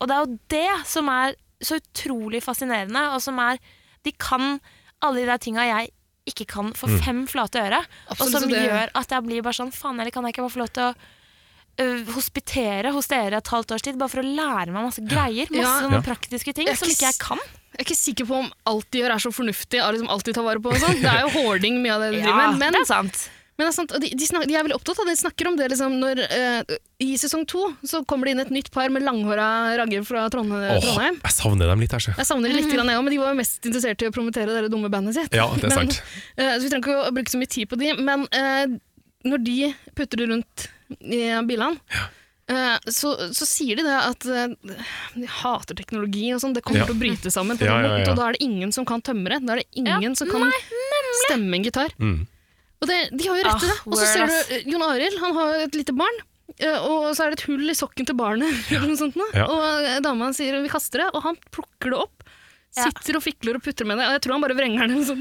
Speaker 2: Og det er jo det som er så utrolig fascinerende, og som er De kan alle de der tinga jeg ikke kan for
Speaker 3: Mm.
Speaker 2: fem flate øre, og
Speaker 1: Absolutt,
Speaker 2: som
Speaker 1: så det-
Speaker 2: gjør at jeg blir bare sånn Faen, eller kan jeg ikke bare få lov til å ø, hospitere hos dere et halvt års tid, bare for å lære meg masse greier? Masse
Speaker 1: Ja.
Speaker 2: sånne
Speaker 3: Ja.
Speaker 2: praktiske ting
Speaker 1: Jeg er
Speaker 2: som
Speaker 1: ikke
Speaker 2: ikke
Speaker 1: s-
Speaker 2: jeg kan.
Speaker 1: Jeg er ikke sikker på om alt de gjør er så fornuftig. og Liksom alt de tar vare på og sånn. Det er jo hoarding mye av det de driver med. Men,
Speaker 2: det er sant.
Speaker 1: men det er sant, og de, de, snak, de er veldig opptatt av det. De snakker om det liksom, når, eh, I sesong to så kommer det inn et nytt par med langhåra ragger fra Trondheim.
Speaker 3: Åh,
Speaker 1: Trondheim.
Speaker 3: jeg savner dem litt her, sjef.
Speaker 1: Jeg savner
Speaker 2: Mhm.
Speaker 1: de litt, grann, jeg også, men de var jo mest interessert i å promotere det dumme bandet sitt.
Speaker 3: Ja, det er
Speaker 1: Men-
Speaker 3: sant.
Speaker 1: Eh, Så vi trenger ikke å bruke så mye tid på de, men eh, når de putter det rundt i bilene, eh, så, så sier de det at eh, de hater teknologi og sånn, det kommer
Speaker 3: Ja.
Speaker 1: til å bryte sammen på
Speaker 3: Ja,
Speaker 1: den
Speaker 3: ja,
Speaker 1: måten,
Speaker 3: ja.
Speaker 1: og da er det ingen som kan tømre, da er det ingen som kan stemme en gitar.
Speaker 3: Mm.
Speaker 1: Og det, de har jo rett i det.
Speaker 2: Ah,
Speaker 1: Og så
Speaker 2: word,
Speaker 1: ser
Speaker 2: ass.
Speaker 1: du eh, Jon Arild, han har jo et lite barn. eh, Og så er det et hull i sokken til barnet, eller noe sånt. nå.
Speaker 3: Ja.
Speaker 1: Og eh, dama sier vi kaster det, og han plukker det opp.
Speaker 2: Ja.
Speaker 1: Sitter og fikler og putter med det. Og jeg tror han bare vrenger det. eller noe sånt.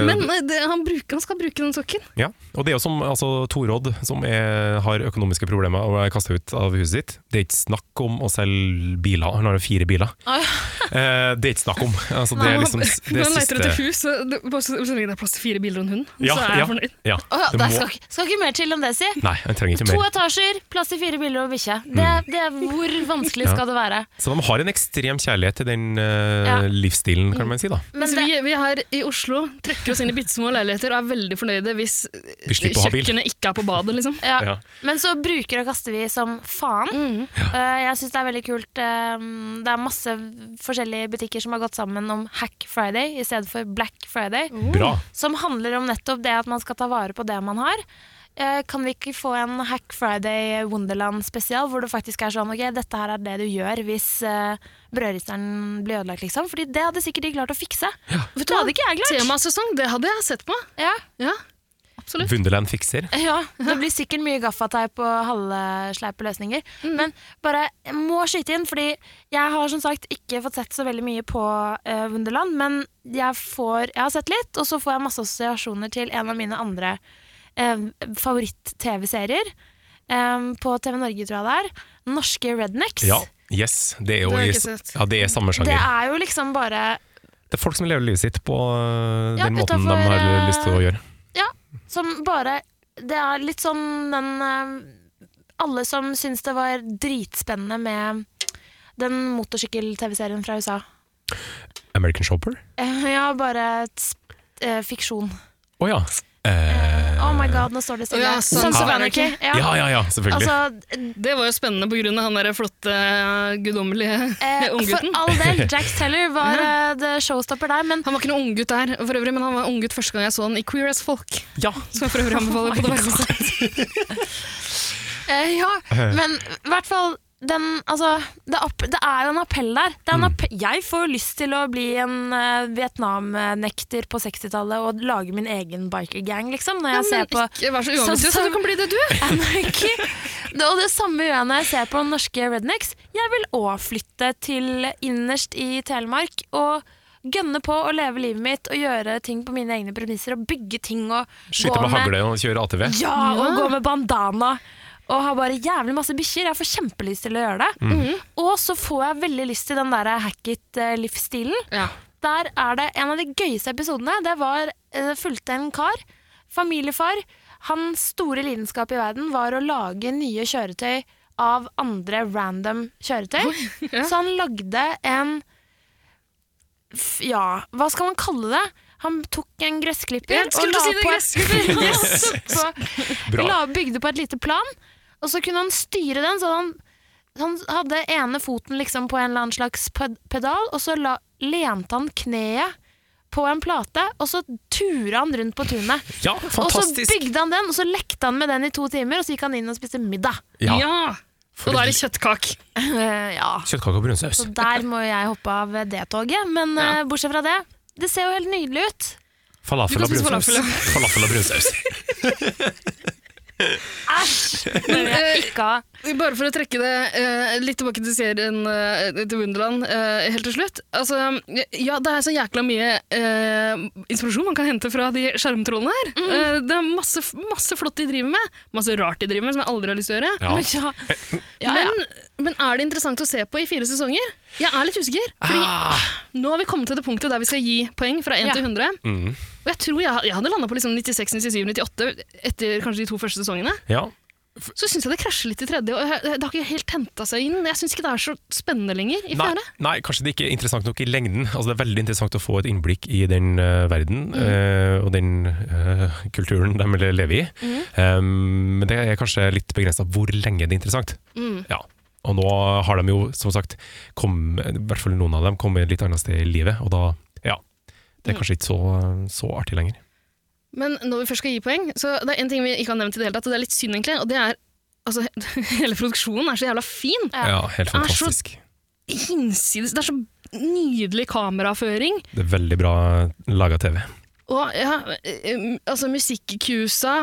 Speaker 1: nå.
Speaker 3: er-
Speaker 1: Men eh, det, han, bruker, han skal bruke den sokken.
Speaker 3: Ja, og det er jo som altså, Torodd, som er, har økonomiske problemer og er kasta ut av huset sitt. Det er ikke snakk om å selge biler, han har jo fire biler. Eh, det er ikke snakk om. Altså, det er liksom s- det
Speaker 1: Når
Speaker 3: er
Speaker 1: han leter etter
Speaker 3: siste
Speaker 1: hus, så, det, bare så, så lenge det er plass til fire biler og en hund,
Speaker 3: Ja,
Speaker 1: så er jeg
Speaker 3: ja.
Speaker 1: fornøyd.
Speaker 3: ja,
Speaker 2: Å ja,
Speaker 3: du
Speaker 2: det
Speaker 3: må-
Speaker 2: skal, ikke- skal ikke mer til enn det, si.
Speaker 3: Nei, han trenger ikke
Speaker 2: To
Speaker 3: mer. Mm.
Speaker 2: etasjer, plass til fire biler og bikkje. Det, det, hvor vanskelig
Speaker 3: Ja.
Speaker 2: skal det være?
Speaker 3: Så de har en ekstrem kjærlighet til den eh,
Speaker 2: Ja.
Speaker 3: livsstilen, kan man si. da.
Speaker 2: Men
Speaker 1: Så
Speaker 2: det,
Speaker 1: vi, vi her i Oslo trekker oss inn i bitte små leiligheter og er veldig fornøyde hvis eh,
Speaker 3: Vi slipper å ha bil.
Speaker 1: kjøkkenet ikke er på badet, liksom.
Speaker 2: ja.
Speaker 3: Ja.
Speaker 2: Men så bruker og kaster vi som faen. Eh, jeg syns det er veldig kult. eh, det er masse forskjellige butikker som har gått sammen om Hack Friday i stedet for Black Friday.
Speaker 3: Bra.
Speaker 2: Som handler om nettopp det at man skal ta vare på det man har. Eh, kan vi ikke få en Hack Friday Wonderland spesial, hvor det faktisk er sånn ok, dette her er det du gjør hvis uh, brødristeren blir ødelagt, liksom. Fordi det hadde sikkert de klart å fikse.
Speaker 1: Vet
Speaker 2: Det hadde ikke jeg klart.
Speaker 1: Temasesong, det hadde jeg sett på.
Speaker 2: Ja.
Speaker 1: Ja, absolutt.
Speaker 3: Wunderland fikser.
Speaker 2: Ja, det blir sikkert mye gaffateip og halvsleipe løsninger. Men bare jeg må skyte inn, fordi jeg har som sagt ikke fått sett så veldig mye på eh, Wunderland, men jeg, får, jeg har sett litt, og så får jeg masse assosiasjoner til en av mine andre eh, favoritt-TV-serier. eh, på TV Norge, tror jeg det er. Norske Rednecks.
Speaker 3: Ja, yes. Det er jo
Speaker 1: Det har jeg
Speaker 3: i-
Speaker 1: ikke sett.
Speaker 3: ja, det er samme
Speaker 2: Det
Speaker 3: sjanger.
Speaker 2: er jo liksom bare
Speaker 3: Det er folk som lever livet sitt på eh,
Speaker 2: Ja,
Speaker 3: den måten
Speaker 2: utenfor,
Speaker 3: de har
Speaker 2: eh,
Speaker 3: lyst til å gjøre.
Speaker 2: Som bare Det er litt sånn den eh, Alle som syns det var dritspennende med den motorsykkel-TV-serien fra USA.
Speaker 3: American Shopper?
Speaker 2: Eh, Ja, bare et sp- eh, fiksjon.
Speaker 3: Å ja. Eh,
Speaker 2: Oh my god, nå står det stille.
Speaker 1: Å ja, Sons
Speaker 2: Sons
Speaker 1: of
Speaker 2: of Anarchy.
Speaker 3: ja,
Speaker 2: Ja.
Speaker 3: ja, ja, selvfølgelig.
Speaker 2: Altså,
Speaker 1: Det var jo spennende pga. han der flotte, guddommelige
Speaker 2: eh, for
Speaker 1: unggutten.
Speaker 2: all del, Jack Teller var eh, the showstopper der, men
Speaker 1: Han var ikke noen unggutt der, for øvrig, men han var unggutt første gang jeg så han i Queer as Folk.
Speaker 3: ja,
Speaker 1: Som jeg for
Speaker 2: Oh
Speaker 1: øvrig anbefaler på det varmeste.
Speaker 2: Eh, ja, men i hvert fall den, altså, det, er opp, det er jo en appell der. Det er en appell. Jeg får lyst til å bli en eh, Vietnam-nekter på 60-tallet og lage min egen bikergang, liksom, når jeg ser på
Speaker 1: Ikke vær så uambisiøs,
Speaker 2: Sånn som-
Speaker 1: du kan bli det, du!
Speaker 2: Anarchy. Det- Og det samme gjør jeg når jeg ser på norske rednecks. Jeg vil òg flytte til innerst i Telemark og gønne på å leve livet mitt og gjøre ting på mine egne premisser og bygge ting og
Speaker 3: Skyte med hagle og kjøre ATV.
Speaker 2: ja, og gå med bandana. Og har bare jævlig masse bikkjer. Jeg får kjempelyst til å gjøre
Speaker 1: Mm.
Speaker 2: det. Og så får jeg veldig lyst til den der hackit-livsstilen.
Speaker 1: Ja.
Speaker 2: Der er det en av de gøyeste episodene. Det var eh, fulgte en kar, familiefar. Hans store lidenskap i verden var å lage nye kjøretøy av andre random kjøretøy.
Speaker 1: ja.
Speaker 2: Så han lagde en f- Ja, hva skal man kalle det? Han tok en
Speaker 1: Jeg
Speaker 2: gressklipper og
Speaker 1: skulle
Speaker 2: la
Speaker 1: si det,
Speaker 2: på
Speaker 1: gressklipper!
Speaker 2: Yes! på,
Speaker 3: Bra.
Speaker 2: la, bygde på et lite plan, og så kunne han styre den. Så han, han hadde ene foten liksom på en eller annen slags ped pedal, og så la, lente han kneet på en plate, og så tura han rundt på tunet.
Speaker 3: Ja,
Speaker 2: Og så
Speaker 3: fantastisk!
Speaker 2: bygde han den, og så lekte han med den i to timer, og så gikk han inn og spiste middag.
Speaker 3: Ja,
Speaker 1: Ja. Og da er det kjøttkak.
Speaker 2: ja.
Speaker 3: Kjøttkake og brunsaus.
Speaker 2: Så der må jeg hoppe av det toget, men
Speaker 1: Ja.
Speaker 2: eh, bortsett fra det, det ser jo helt nydelig ut.
Speaker 1: Du
Speaker 3: Falafel og
Speaker 1: kan spise
Speaker 3: brunsaus. Falafel og brunsaus.
Speaker 2: Æsj! Det vil jeg ikke ha.
Speaker 1: Bare for å trekke det eh, litt tilbake til serien eh, til Wunderland eh, helt til slutt. Altså, ja, det er så jækla mye eh, inspirasjon man kan hente fra de skjermtrollene her. Eh, det er masse, masse flott de driver med. Masse rart de driver med, som jeg aldri har lyst til å gjøre.
Speaker 3: Ja.
Speaker 2: Men ja. Ja, ja.
Speaker 1: Men, men er det interessant å se på i fire sesonger? Jeg er litt usikker. Fordi
Speaker 3: Ah.
Speaker 1: nå har vi kommet til det punktet der vi skal gi poeng fra 1
Speaker 2: Ja.
Speaker 1: til 100.
Speaker 3: Mm.
Speaker 1: Og jeg tror jeg, jeg hadde landa på liksom 96, 97, 98 etter kanskje de to første sesongene.
Speaker 3: ja.
Speaker 1: Så syns jeg det krasjer litt i tredje, og jeg, det har ikke helt henta seg inn. Jeg syns ikke det er så spennende lenger i
Speaker 3: Nei,
Speaker 1: fjerde.
Speaker 3: nei, kanskje det ikke er interessant nok i lengden. Altså, det er veldig interessant å få et innblikk i den eh, verden eh, og den eh, kulturen de lever i. Um, men det er kanskje litt begrensa hvor lenge det er interessant.
Speaker 1: Mm.
Speaker 3: Ja. Og nå har de jo, som sagt, kom, i hvert fall noen av dem kommet et litt annet sted i livet, og da, ja. Det er kanskje ikke så, så artig lenger.
Speaker 1: Men når vi først skal gi poeng, så det er en ting vi ikke har nevnt i det hele tatt, og det er litt synd egentlig, og det er Altså, hele produksjonen er så jævla fin!
Speaker 2: Ja.
Speaker 3: Ja, helt
Speaker 1: Er så-
Speaker 3: fantastisk.
Speaker 1: Hinsides Det er så nydelig kameraføring.
Speaker 3: Det er veldig bra laga TV.
Speaker 1: Og ja, eh, altså musikkusa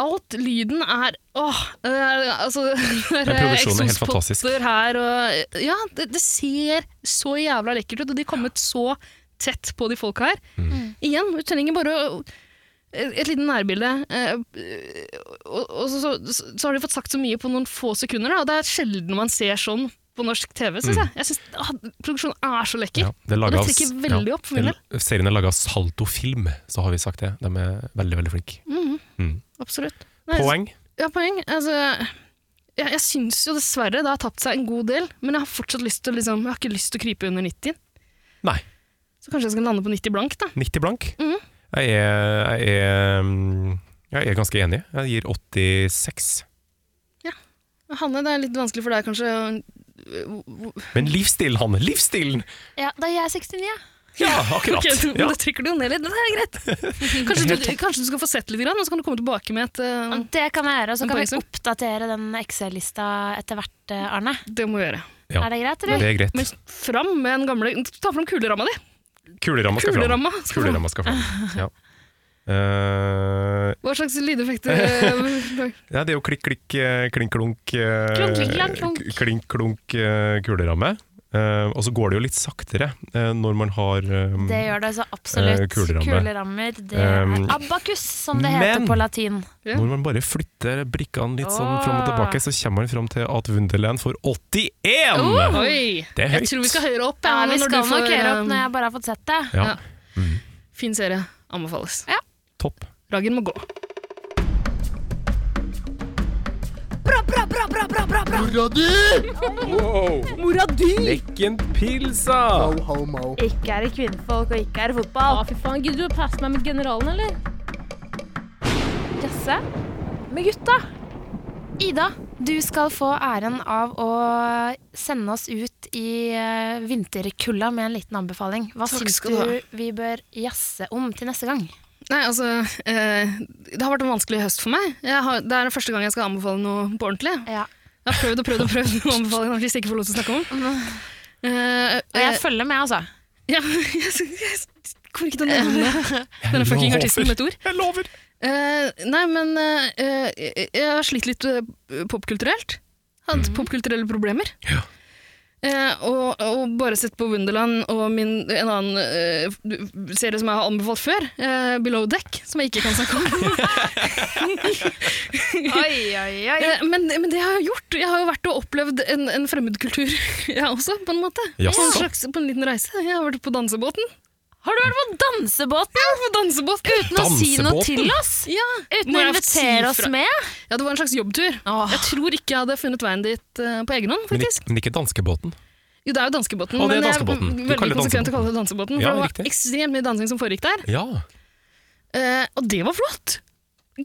Speaker 1: Alt, lyden er Åh! Det er, altså, det er
Speaker 3: Ja, produksjonen er helt fantastisk.
Speaker 1: eksospotter her og Ja, det, det ser så jævla lekkert ut, og de er kommet så tett på de folka her.
Speaker 3: Mm.
Speaker 1: Igjen, du trenger bare å- et lite nærbilde. eh, Og, og så, så, så har de fått sagt så mye på noen få sekunder, da, og det er sjelden man ser sånn på norsk TV, syns jeg. jeg synes, ah, produksjonen er så lekker.
Speaker 3: Mm. Ja, det er
Speaker 1: Og
Speaker 3: laget
Speaker 1: det
Speaker 3: av-
Speaker 1: trekker veldig opp for min del.
Speaker 3: Serien er laga av Salto Film, så har vi sagt det. De er veldig, veldig flinke. Mm.
Speaker 1: Absolutt. Nei, jeg-
Speaker 3: Poeng?
Speaker 1: Ja, poeng. Altså, jeg, jeg syns jo dessverre det har tapt seg en god del, men jeg har fortsatt lyst til å liksom, jeg har ikke lyst til å krype under 90.
Speaker 3: Nei.
Speaker 1: Så kanskje jeg skal lande på 90 blank, da.
Speaker 3: 90 blank.
Speaker 1: Mhm.
Speaker 3: Jeg, er, jeg, er, mm, jeg er ganske enig. Jeg gir 86.
Speaker 1: Hanne, det er litt vanskelig for deg kanskje. å-
Speaker 3: Men livsstilen, Hanne! Livsstilen!
Speaker 2: Ja, da er jeg 69, ja.
Speaker 3: Ja, akkurat.
Speaker 1: Ok, du,
Speaker 3: Ja.
Speaker 1: Da trykker du jo ned litt, men det er greit. Kanskje du, kanskje du skal få sett litt, grann, og så kan du komme tilbake med et eh,
Speaker 2: Det kan jeg gjøre, og så
Speaker 1: Men
Speaker 2: kan vi
Speaker 1: poengsum?
Speaker 2: oppdatere den Excel-lista etter hvert, eh, Arne.
Speaker 1: Det må vi gjøre.
Speaker 3: Ja.
Speaker 2: Er det greit,
Speaker 3: Det
Speaker 2: eller?
Speaker 3: er greit.
Speaker 1: Men fram med den gamle Ta fram kuleramma di!
Speaker 3: Kuleramma skal fram.
Speaker 1: Kuleramma! skal fram.
Speaker 3: Kuleramma skal fram. Ja. Eh,
Speaker 1: Hva slags eh, lydeffekter
Speaker 3: ja, det er jo klikk, klikk, eh, klink, klunk eh,
Speaker 2: Klunk, klink, klunk, klunk.
Speaker 3: k- Klink, klunk, eh, kuleramme. Eh, og så går det jo litt saktere eh, når man har eh,
Speaker 2: Det gjør det så absolutt.
Speaker 3: Eh, kuleramme.
Speaker 2: Kulerammer. Det
Speaker 3: Um,
Speaker 2: er abacus, som det heter
Speaker 3: men-
Speaker 2: på latin.
Speaker 1: Ja.
Speaker 3: Når man bare flytter brikkene litt sånn
Speaker 2: Åh.
Speaker 3: fram og tilbake, så kommer man fram til at Wunderland får 81!
Speaker 1: Oi!
Speaker 3: Det er
Speaker 1: Jeg
Speaker 3: høyt.
Speaker 1: tror vi skal høyere opp.
Speaker 2: Ja, vi
Speaker 1: når du
Speaker 2: skal
Speaker 1: får,
Speaker 2: nok gjøre
Speaker 1: eh,
Speaker 2: opp når jeg bare har fått sett det.
Speaker 3: Ja,
Speaker 1: Ja. Fin serie. Anbefales.
Speaker 3: topp.
Speaker 1: Ragen må gå.
Speaker 3: Wow!
Speaker 5: Mora di!
Speaker 3: Lekken pilsa!
Speaker 6: Ikke er det kvinnefolk, og ikke er det
Speaker 5: Ja,
Speaker 6: fotball.
Speaker 5: fy faen. Gidder du å passe meg med generalen, eller?
Speaker 6: Jazze med gutta.
Speaker 2: Ida, du skal få æren av å sende oss ut i eh, vinterkulda med en liten anbefaling. Hva
Speaker 1: Takk
Speaker 2: syns
Speaker 1: skal
Speaker 2: du
Speaker 1: du ha.
Speaker 2: vi bør jazze om til neste gang?
Speaker 1: Nei, altså, eh, Det har vært en vanskelig høst for meg. Jeg har, det er første gang jeg skal anbefale noe på ordentlig.
Speaker 2: Ja.
Speaker 1: Jeg har prøvd og prøvd og prøvd å anbefale en artist jeg ikke får lov til å snakke om. Eh,
Speaker 2: Og jeg
Speaker 1: eh,
Speaker 2: følger med, altså.
Speaker 1: ja, jeg, jeg kommer ikke til å nevne denne fucking artisten med et ord.
Speaker 3: Jeg lover!
Speaker 1: Eh, nei, men eh, eh, jeg har slitt litt eh, popkulturelt. Hatt popkulturelle problemer.
Speaker 3: Mm. Ja.
Speaker 1: Eh, og, og bare sett på Wunderland og min, en annen eh, f- serie som jeg har anbefalt før, eh, Below Deck, som jeg ikke kan snakke om.
Speaker 6: Oi, oi, oi.
Speaker 1: Eh, men, men det har jeg gjort. Jeg har jo vært og opplevd en, en fremmed kultur, jeg også, på en måte. På en,
Speaker 3: Jaså.
Speaker 1: slags, på en liten reise. Jeg har vært på dansebåten.
Speaker 2: Har du vært på dansebåten
Speaker 1: På dansebåten!
Speaker 2: uten å si noe
Speaker 3: Dansebåten?
Speaker 2: til oss?
Speaker 1: Ja.
Speaker 2: Uten
Speaker 1: Må
Speaker 2: å
Speaker 1: jeg si
Speaker 2: invitere oss
Speaker 1: fra-
Speaker 2: med?
Speaker 1: ja, det var en slags jobbtur.
Speaker 2: Åh.
Speaker 1: Jeg tror ikke jeg hadde funnet veien dit eh, på egen hånd,
Speaker 3: Men,
Speaker 1: faktisk.
Speaker 3: ikke- men ikke danskebåten.
Speaker 1: Jo, det er jo danskebåten,
Speaker 3: Å, det er
Speaker 1: men jeg er
Speaker 3: danskebåten. Du kaller
Speaker 1: veldig konsekvent
Speaker 3: det
Speaker 1: å
Speaker 3: dansebåten.
Speaker 1: kalle det dansebåten. For
Speaker 3: Ja,
Speaker 1: det var
Speaker 3: riktig.
Speaker 1: ekstremt mye dansing som foregikk der.
Speaker 3: Ja.
Speaker 1: Eh, og det var flott!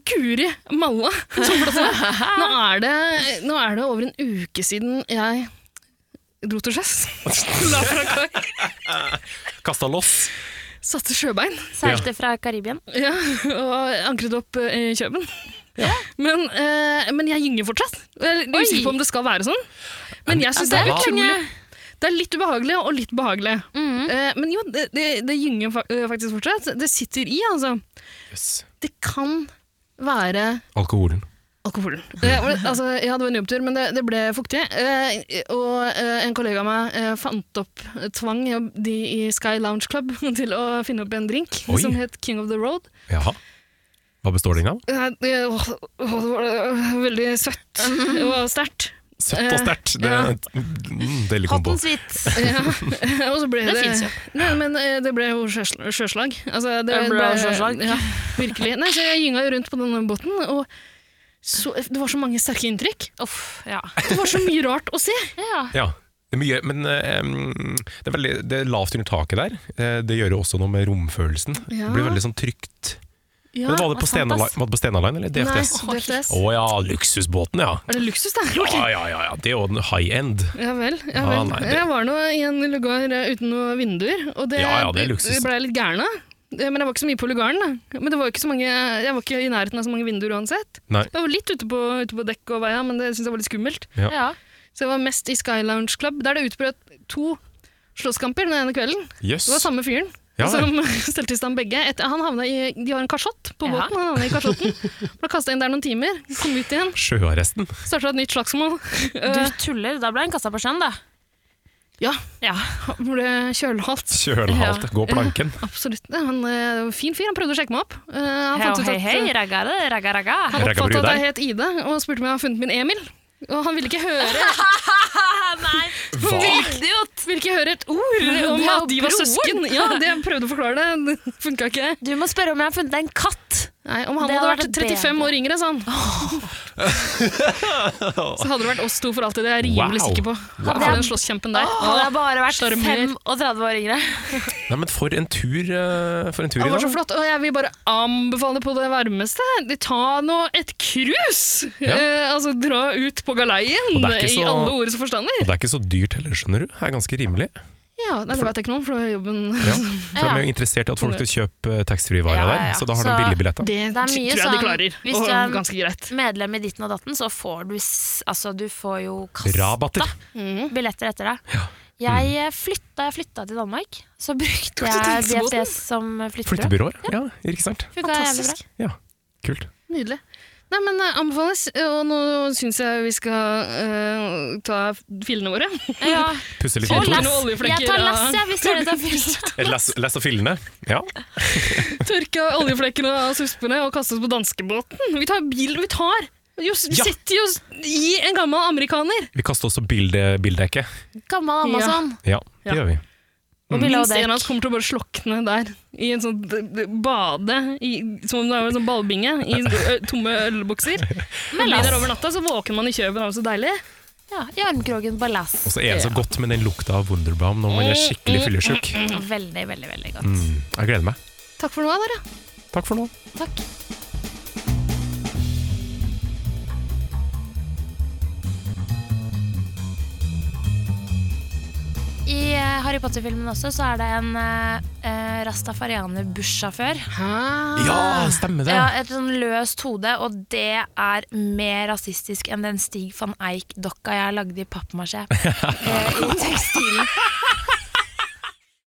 Speaker 1: Guri malla! som flott det var. Nå er det, nå er det over en uke siden jeg dro til sjøs. La fra kai.
Speaker 3: Kasta loss.
Speaker 1: Satte sjøbein
Speaker 2: Seilte fra Karibien.
Speaker 1: ja, og ankret opp eh, i Kjøben. Men, eh, men jeg gynger fortsatt. Jeg er
Speaker 2: Oi.
Speaker 1: usikker på om det skal være sånn. Men jeg syns det er
Speaker 3: det er
Speaker 1: utrolig Det er litt ubehagelig og litt behagelig. Eh, men jo, det, det, det gynger fa eh, faktisk fortsatt. Det sitter i, altså.
Speaker 3: Yes.
Speaker 1: Det kan være
Speaker 3: Alkoholen.
Speaker 1: Alkoholen. Eh, men, altså, jeg hadde en jobbtur, men det, det ble fuktig. Eh, og eh, en kollega av meg eh, fant opp eh, tvang de i Sky Lounge Club til å finne opp en drink
Speaker 3: Oi.
Speaker 1: som het King of the Road.
Speaker 3: Jaha. Hva består den av?
Speaker 1: Eh, det, åh, åh, det var eh, veldig søtt og sterkt.
Speaker 3: Søtt og sterkt. Det er en deilig
Speaker 2: Hot
Speaker 3: kombo.
Speaker 2: and sweet.
Speaker 1: Ja. og så ble det
Speaker 2: Det fins jo.
Speaker 1: Nei, men eh, det ble jo sjøsl- sjøslag. Altså, det,
Speaker 2: Det ble sjøslag.
Speaker 1: Ja, virkelig. Nei, så jeg gynga jo rundt på denne båten, og så, det var så mange sterke inntrykk.
Speaker 2: Uff, ja.
Speaker 1: Det var så mye rart å se.
Speaker 2: ja.
Speaker 3: Ja. Det er mye, men eh, em, det, er veldig, det er lavt under taket der. Eh, det gjør jo også noe med romfølelsen.
Speaker 1: Ja.
Speaker 3: Det blir veldig sånn trygt.
Speaker 1: Ja.
Speaker 3: men var det
Speaker 2: det
Speaker 3: på
Speaker 2: er sant,
Speaker 3: Stena,
Speaker 2: ass.
Speaker 3: var det på Stena Line eller DFTS?
Speaker 1: Nei, DFTS.
Speaker 3: Å ja, luksusbåten, ja.
Speaker 1: Er det luksus, da?
Speaker 3: Ja, ja, ja, ja. Det er jo en high end.
Speaker 1: Ja vel. Ja
Speaker 3: Ah,
Speaker 1: vel.
Speaker 3: nei, det-
Speaker 1: Jeg var nå i en lugar eh, uten noen vinduer, og det,
Speaker 3: Ja, ja, det er luksus.
Speaker 1: ble jeg litt gæren av. Eh, Men jeg var ikke så mye på lugaren. da. Men det var jo ikke så mange, jeg var ikke i nærheten av så mange vinduer uansett.
Speaker 3: Nei.
Speaker 1: Jeg var litt ute på, ute på dekk og veia, men det syntes jeg var litt skummelt.
Speaker 2: ja.
Speaker 1: Så jeg var mest i Sky Lounge Club, der det utbrøt to slåsskamper den ene kvelden.
Speaker 3: Jøss.
Speaker 1: Det var samme fyren
Speaker 3: Ja, vel.
Speaker 1: som stelte i stand begge. Etter, han havna i, de har en kasjott på
Speaker 2: Ja.
Speaker 1: båten, han havna i kasjotten. Ble kasta inn der noen timer, kom ut igjen,
Speaker 3: Sjøarresten.
Speaker 1: starta et nytt slagsmål.
Speaker 2: Du tuller. Da ble han kasta på sjøen, da.
Speaker 1: Ja.
Speaker 2: Ja.
Speaker 1: Han ble kjølhalt.
Speaker 3: Kjølhalt. Gå planken.
Speaker 1: Absolutt. Nei, Han eh, var en fin fyr, han prøvde å sjekke meg opp. Eh, han
Speaker 2: Hei,
Speaker 1: fant ut
Speaker 2: hei,
Speaker 1: at,
Speaker 2: hei, ragga, det, ragga, ragga.
Speaker 1: han
Speaker 3: Rekka
Speaker 1: oppfattet at
Speaker 3: Brudei.
Speaker 1: jeg het Ida, og spurte om jeg hadde funnet min Emil. Og han ville ikke høre,
Speaker 2: Nei,
Speaker 3: Hva?
Speaker 2: idiot!
Speaker 1: ville ikke høre et ord om
Speaker 2: Det er
Speaker 1: at de var
Speaker 2: broren.
Speaker 1: søsken. Ja, det jeg prøvde å forklare det, det funka ikke.
Speaker 2: Du må spørre om jeg har funnet en katt.
Speaker 1: Nei, Om han
Speaker 2: Det
Speaker 1: hadde
Speaker 2: hadde
Speaker 1: vært
Speaker 2: vært
Speaker 1: 35 år yngre, sa han. Så hadde det vært oss to for alltid, det er jeg rimelig
Speaker 3: Wow.
Speaker 1: sikker på.
Speaker 3: Wow.
Speaker 1: For den slåsskjempen der.
Speaker 2: Hadde jeg bare vært
Speaker 1: Sjarmer.
Speaker 2: 35 år yngre.
Speaker 3: Nei, men for en tur, eh, for en tur i
Speaker 1: Det var
Speaker 3: dag.
Speaker 1: så flott, og jeg vil bare anbefale på det varmeste. De- Ta nå et cruise!
Speaker 3: Ja.
Speaker 1: Eh, altså, dra ut på galeien,
Speaker 3: Og det er ikke
Speaker 1: i
Speaker 3: så-
Speaker 1: alle ordets forstander.
Speaker 3: Og det er ikke så dyrt heller, skjønner du. Det er ganske rimelig.
Speaker 1: Ja, nei, det vet jeg ikke noe om, for det er jobben
Speaker 3: Ja. For De er jo interessert i at folk skal kjøpe eh, taxfree-varer
Speaker 2: Ja, ja,
Speaker 3: der,
Speaker 2: ja.
Speaker 3: så da har de
Speaker 2: Så-
Speaker 3: billige billetter.
Speaker 1: Det,
Speaker 2: mye
Speaker 1: tror jeg de
Speaker 2: sånn-
Speaker 1: klarer,
Speaker 2: hvis
Speaker 1: og
Speaker 2: du er-
Speaker 1: ganske greit.
Speaker 2: Medlem i ditten og datten, så får du s- Altså, du får jo kasta
Speaker 3: Rabatter.
Speaker 2: billetter etter deg. Jeg eh, flytta, da jeg flytta til Danmark, så brukte
Speaker 1: Kanskje
Speaker 2: jeg
Speaker 1: til Dagsbåten?
Speaker 2: DFDS som flyttebyrå.
Speaker 3: Flyttebyråer? Ja, ikke sant?
Speaker 2: Funka jævlig bra.
Speaker 1: Fantastisk.
Speaker 3: Ja, kult.
Speaker 1: Nydelig. Nei, men eh, anbefales, og nå syns jeg vi skal eh, ta fillene våre.
Speaker 2: Ja.
Speaker 3: Pusse litt
Speaker 1: Fyll
Speaker 3: kontor.
Speaker 1: noen oljeflekker,
Speaker 2: Jeg tar
Speaker 1: ja.
Speaker 2: lass, jeg, hvis dere tar fyll.
Speaker 3: Eh, Les, les av fyllene. Ja.
Speaker 1: Tørke oljeflekkene av suspene og kaste oss på danskebåten. Vi tar bilen vi tar! Jo, s-
Speaker 3: Ja.
Speaker 1: Setter oss i en gammel amerikaner!
Speaker 3: Vi kaster også bilde, bildekket.
Speaker 2: Gammel Amazon.
Speaker 3: Ja, det
Speaker 1: Ja.
Speaker 3: gjør vi.
Speaker 1: Og
Speaker 2: Bill
Speaker 1: minst
Speaker 2: O'Deck.
Speaker 1: en av oss kommer til å bare slokne der, i en sånn d- d- bade, i, som om det er en sånn ballbinge, i ø, tomme ølbokser. Men
Speaker 2: lass.
Speaker 1: der over natta så våkner man i Kjøben, det er så deilig.
Speaker 2: Ja, I armkroken på lass.
Speaker 3: Og så er det så godt med den lukta av Wunderbaum når man er skikkelig fyllesyk.
Speaker 2: Veldig, veldig, veldig godt.
Speaker 3: Mm, Jeg gleder meg.
Speaker 1: Takk for nå, dere.
Speaker 3: Takk for nå.
Speaker 2: Takk. I eh, Harry Potter-filmen også så er det en eh, eh, rastafarianer-bussjåfør.
Speaker 3: Ja, stemmer det.
Speaker 2: Ja, et sånn løst hode, og det er mer rasistisk enn den Stig van Eijk-dokka jeg lagde i pappmasjé. eh, I tekstilen.